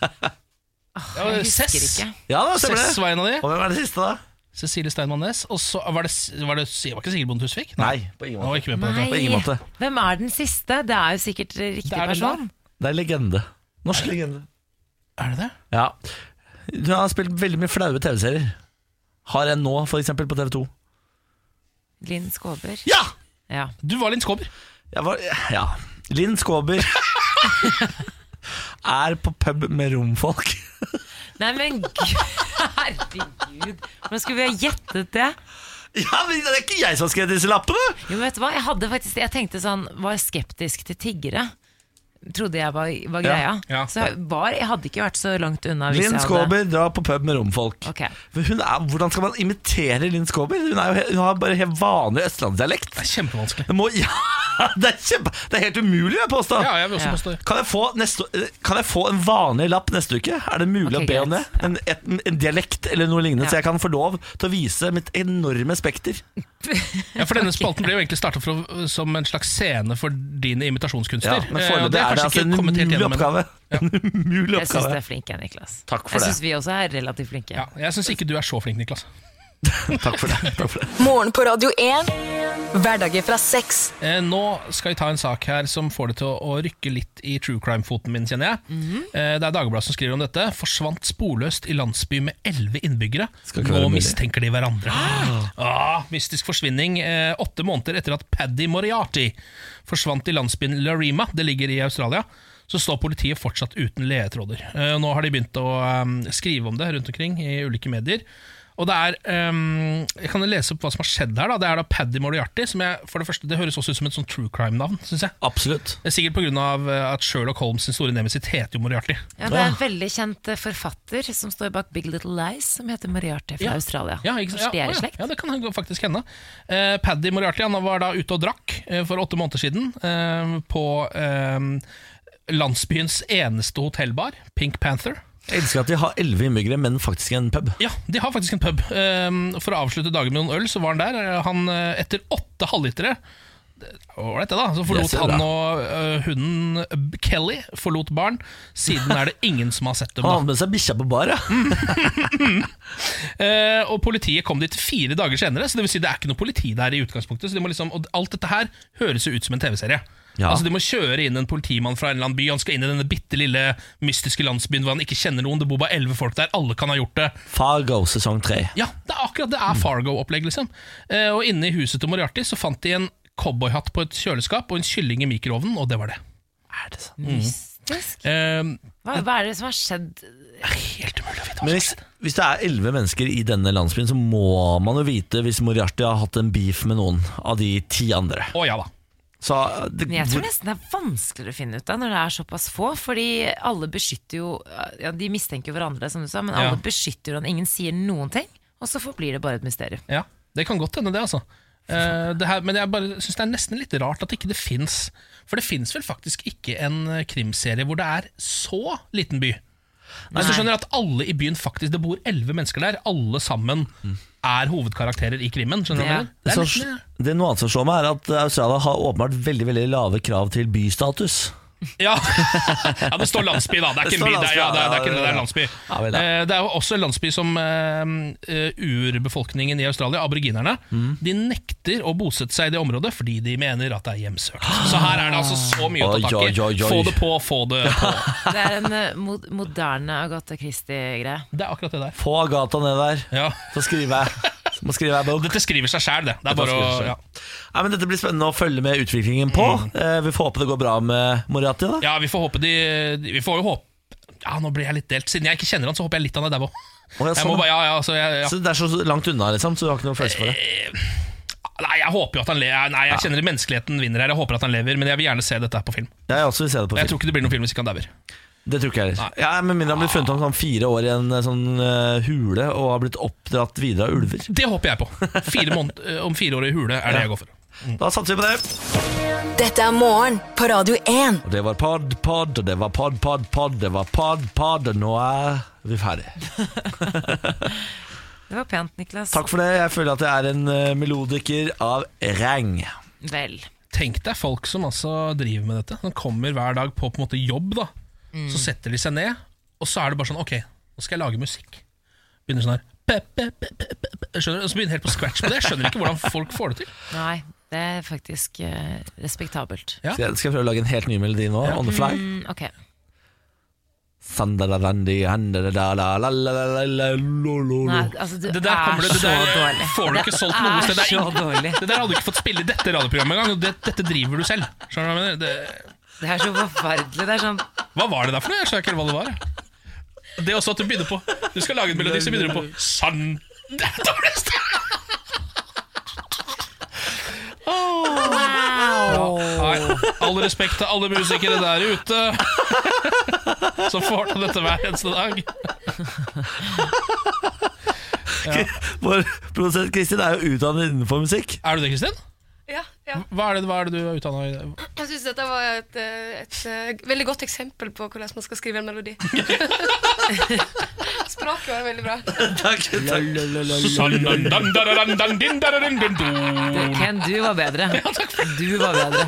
Ja,
Jeg husker
Sess.
ikke.
Ja, det stemmer
Sess
det.
var en av de.
Og hvem er det siste, da?
Cecilie Steinmann Næss. Og så var det, var det, det var ikke Sigrid Bonde Tusvik?
Nei, på ingen
Nå var
måte.
jeg ikke med på dette.
På ingen
Nei,
måte.
hvem er den siste? Det er jo sikkert eh, riktig
Det er det
person.
Det er legende. Norsk legende.
Er det det?
Ja. Hun har spilt veldig mye flaue TV-serier. Har en nå, for eksempel, på TV 2.
Linn Skåber.
Ja!
Ja.
Du var Linn Skåber.
Jeg var, ja. Linn Skåber er på pub med romfolk.
Nei, men gud, herregud. Hvordan skulle vi ha gjettet det?
Ja, men Det er ikke jeg som har skrevet disse lappene!
Jo, men vet du hva? Jeg hadde faktisk Jeg tenkte sånn Var skeptisk til tiggere. Trodde jeg var, var
Ja,
greia.
ja.
Så jeg, var, jeg hadde ikke vært så langt unna. Hvis
Linn
jeg hadde-
Skåber drar på pub med romfolk.
Ok.
Men Hun er, hvordan skal man imitere Linn Skåber? Hun, er jo, he- hun har bare helt vanlig østlandsdialekt.
Det er kjempevanskelig.
Det, må, ja, det, er kjempe, det er helt umulig, vil jeg påstå.
Ja, jeg vil også
Ja.
påstå det.
Kan jeg, få neste, kan jeg få en vanlig lapp neste uke? Er det mulig
Ok,
å be om det?
greit.
En, et, en dialekt eller noe lignende,
Ja.
så jeg kan få lov til å vise mitt enorme spekter.
Ja, for denne spalten ble jo egentlig starta som en slags scene for din
Ja,
imitasjonskunster.
men
Eh,
foreløpig er
og
det
kanskje
altså
ikke
en
kommet helt
umulig
gjennom ennå.
oppgave. En umulig
Jeg syns du
oppgave.
er flink, Niklas.
Takk for
jeg
det.
syns vi også er relativt flinke.
Ja, jeg syns ikke du er så flink, Niklas.
Takk for det. Takk for det.
Morgen på Radio 1. Hverdager fra seks.
Eh, nå skal vi ta en sak her som får det til å, å rykke litt i true crime-foten min, kjenner jeg.
Mhm.
eh, det er Dagbladet som skriver om dette. Forsvant sporløst i landsby med elleve innbyggere.
Skal ikke være
Nå
mulig.
mistenker de hverandre. Ah, mystisk forsvinning eh, åtte måneder etter at Paddy Moriarty forsvant i landsbyen Larima, det ligger i Australia. Så står politiet fortsatt uten ledetråder. Eh, nå har de begynt å eh, skrive om det rundt omkring i ulike medier. Og det er, ehm, Jeg kan lese opp hva som har skjedd her. da Det er da Paddy Moriarty. Som jeg, for det første, det høres også ut som et sånn true crime-navn. Synes jeg
Absolutt.
Det er Sikkert pga. eh, at Sherlock Holmes' sin store nemesis heter jo Moriarty.
Ja, det er en veldig kjent eh, forfatter som står bak Big Little Lies, som heter Mariarte fra
Ja.
Australia.
Ja, ikke,
Kanskje
sant?
de
ja,
er i
ja,
slekt?
ja, det kan jo faktisk hende. Eh, Paddy Moriarty han var da ute og drakk eh, for åtte måneder siden eh, på eh, landsbyens eneste hotellbar, Pink Panther.
Jeg elsker at vi har elleve innbyggere, men faktisk en pub.
Ja, de har faktisk en pub. Ehm, For å avslutte dagen med noen øl, så var han der. Eh, Han, eh, etter åtte eh, halvlitere Ålreit, det, da. Så
Det
forlot
ser
han
bra.
og øh, hunden øh, Kelly forlot barn. Siden er det ingen som har sett dem.
Han
da
hadde med seg bikkja på bar, ja.
Mm. Eh, og politiet kom dit fire dager senere, så det, vil si det er ikke noe politi der i utgangspunktet. Så de må liksom, og alt dette her høres jo ut som en TV-serie.
Ja.
Altså De må kjøre inn en politimann fra en eller annen by. Han skal inn i denne bitte lille mystiske landsbyen hvor han ikke kjenner noen. Det bor bare elleve folk der. Alle kan ha gjort det.
Fargo sesong tre.
Ja, det er akkurat det er Fargo-opplegg, liksom. Eh, og inne i huset til Moriarty så fant de en cowboyhatt på et kjøleskap og en kylling i mikroovnen, og det var det.
Er det
Mm.
sant?
Mystisk.
Eh,
Hva, hva er det som har skjedd?
helt umulig å vite.
Men
hva
hvis, hvis det er elleve mennesker i denne landsbyen, så må man jo vite hvis Moriarty har hatt en beef med noen av de ti andre.
Å ja da.
Så eh, det,
Men jeg tror
hvor-
nesten det er vanskeligere å finne ut av når det er såpass få. Fordi alle beskytter jo ja, De mistenker jo hverandre, som du sa, men alle
Ja.
beskytter hverandre. Ingen sier noen ting. Og så forblir det bare et mysterium.
Ja, det kan godt hende det, altså. Eh, det her, men jeg bare synes det er nesten litt rart at ikke det fins. For det fins vel faktisk ikke en eh, krimserie hvor det er så liten by. Hvis du
Nei.
skjønner at alle i byen faktisk Det bor elleve mennesker der. Alle sammen er hovedkarakterer i krimmen. Skjønner du hva
Mm. Ja.
jeg mener? Det er
så,
nesten,
det er noe annet som slår meg, er at Australia har åpenbart veldig veldig lave krav til bystatus.
Ja. ja, det står landsby, da. Det er
Det
ikke en by,
står
det er, ja, det er, det er, ikke, det er landsby.
Ja, vel, ja.
Eh, Det er jo også en landsby som eh, eh, urbefolkningen i Australia, aboriginerne,
Mm.
de nekter å bosette seg i det området fordi de mener at det er hjemsøkt. Så her er det altså så mye å
Oi,
ta tak
oi,
i.
oi, oi.
Få det på, få det på.
Det er en eh, mo moderne Agatha Christie-greie.
Det er akkurat det der.
Få Agatha ned der,
Ja.
så skriver jeg. så Må skrive jeg bok.
Dette skriver seg sjæl, det. Det er bare å ja.
Nei, men dette blir spennende å følge med utviklingen på. Eh, vi får håpe det går bra med Moriarty. da
Mm. ja, vi får håpe de de- Vi får jo håpe Ja, nå blir jeg litt delt. Siden jeg ikke kjenner han, så håper jeg litt han er der òg.
Å, ja,
Jeg
sånn,
må
ja.
bare- ja, ja, altså, jeg- ja.
Så Det er så langt unna, liksom, så du har ikke noe følelse for det.
Nei, jeg håper jo at han le Nei, jeg kjenner menneskeligheten vinner her. Jeg håper at han lever, men jeg vil gjerne se dette her på film.
Jeg også vil se det på
Jeg
film.
tror ikke det blir noen film hvis ikke han dauer.
Det tror ikke jeg heller. Ja, Med mindre han blir funnet om sånn fire år i en eh, sånn eh, hule og har blitt oppdratt videre av ulver.
Det håper jeg på. Fire måned- eh, om fire år i hule er det jeg går for.
Da satser vi på det.
Dette er morgen på Radio 1.
Og det var pod, pod, og det var pod, pod, pod, det var pod, pod, og nå er vi ferdige.
Det var pent, Niklas.
Takk for det. Jeg føler at jeg er en eh, melodiker av rang.
Vel.
Tenk deg folk som altså driver med dette. Som kommer hver dag på på en måte jobb. da Så setter de seg ned, og så er det bare sånn Ok, nå skal jeg lage musikk. Begynner sånn her pe, pe, pe, pe, pe, pe. Skjønner du? Og så begynner helt på scratch på det. Jeg skjønner ikke hvordan folk får det til.
Nei, det er faktisk eh, respektabelt.
Ja.
Skal jeg, skal jeg prøve å lage en helt ny melodi nå? On the fly?
Mm, ok.
Sandalarandi, handadadalalalalalalolo.
Nei, altså, du
Det der, kommer
er
det, det
så
der
dårlig.
får du ikke solgt noe sted. Det,
så
er
dårlig.
ingen- det der hadde du ikke fått spille i dette radioprogrammet engang. og Det, dette driver du selv. Skjønner du hva jeg mener? Det,
Det er så forferdelig. Det er sånn
Hva var det der for noe? Jeg skjønner ikke hva det var. jeg. Det er også at du begynner på Du skal lage en melodi, så begynner du på Sann Det er dårligst! Nei, All respekt til alle musikere der ute som får til dette hver eneste dag.
Vår produsent Kristin er jo utdannet innenfor musikk.
Er du det, Kristin?
Ja, ja.
Hva er det, hva er det du er utdanna i?
Jeg syns dette var et, eh, et, eh, veldig godt eksempel på hvordan man skal skrive en melodi. Språket var veldig bra.
Takk, takk.
Sann, dan, dan, dan, dan, dan, din, dan, dan, din, do.
Ken, du var bedre. Du var bedre.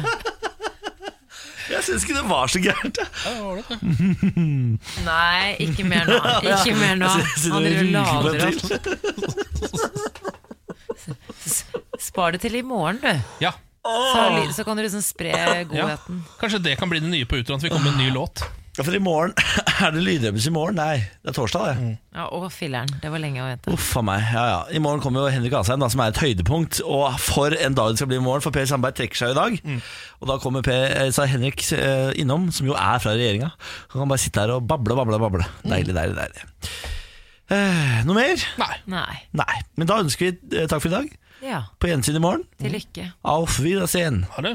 Jeg syns ikke det var så gærent. jeg.
Nei, ikke mer nå. Ikke mer nå.
Jeg synes-
Han
jeg synes
driver og
det
lader
ryker
opp.
meg til.
S- Spar det til i morgen, du.
Ja,
Så, li- så kan du liksom spre godheten.
Kanskje det kan bli det nye på utroen, at vi kommer med en ny låt.
Ja, for i morgen Er det lydrebus i morgen? Nei, det er torsdag, det.
Ja, å, filleren. Det var lenge å vente.
Uff a meg. Ja, ja. I morgen kommer jo Henrik Asheim, da, som er et høydepunkt. Og for en dag det skal bli i morgen, for Per Sandberg trekker seg jo i dag.
Mm.
Og da kommer per, eh, så er Henrik eh, innom, som jo er fra regjeringa. Han kan bare sitte her og bable, bable, bable.
Mm.
Deilig, deilig, deilig. Eh, noe mer?
Nei.
Nei.
Nei. Men da ønsker vi eh, takk for i dag.
Ja.
På gjensyn i morgen.
Til lykke.
Auf Wiedersehen.
Har du?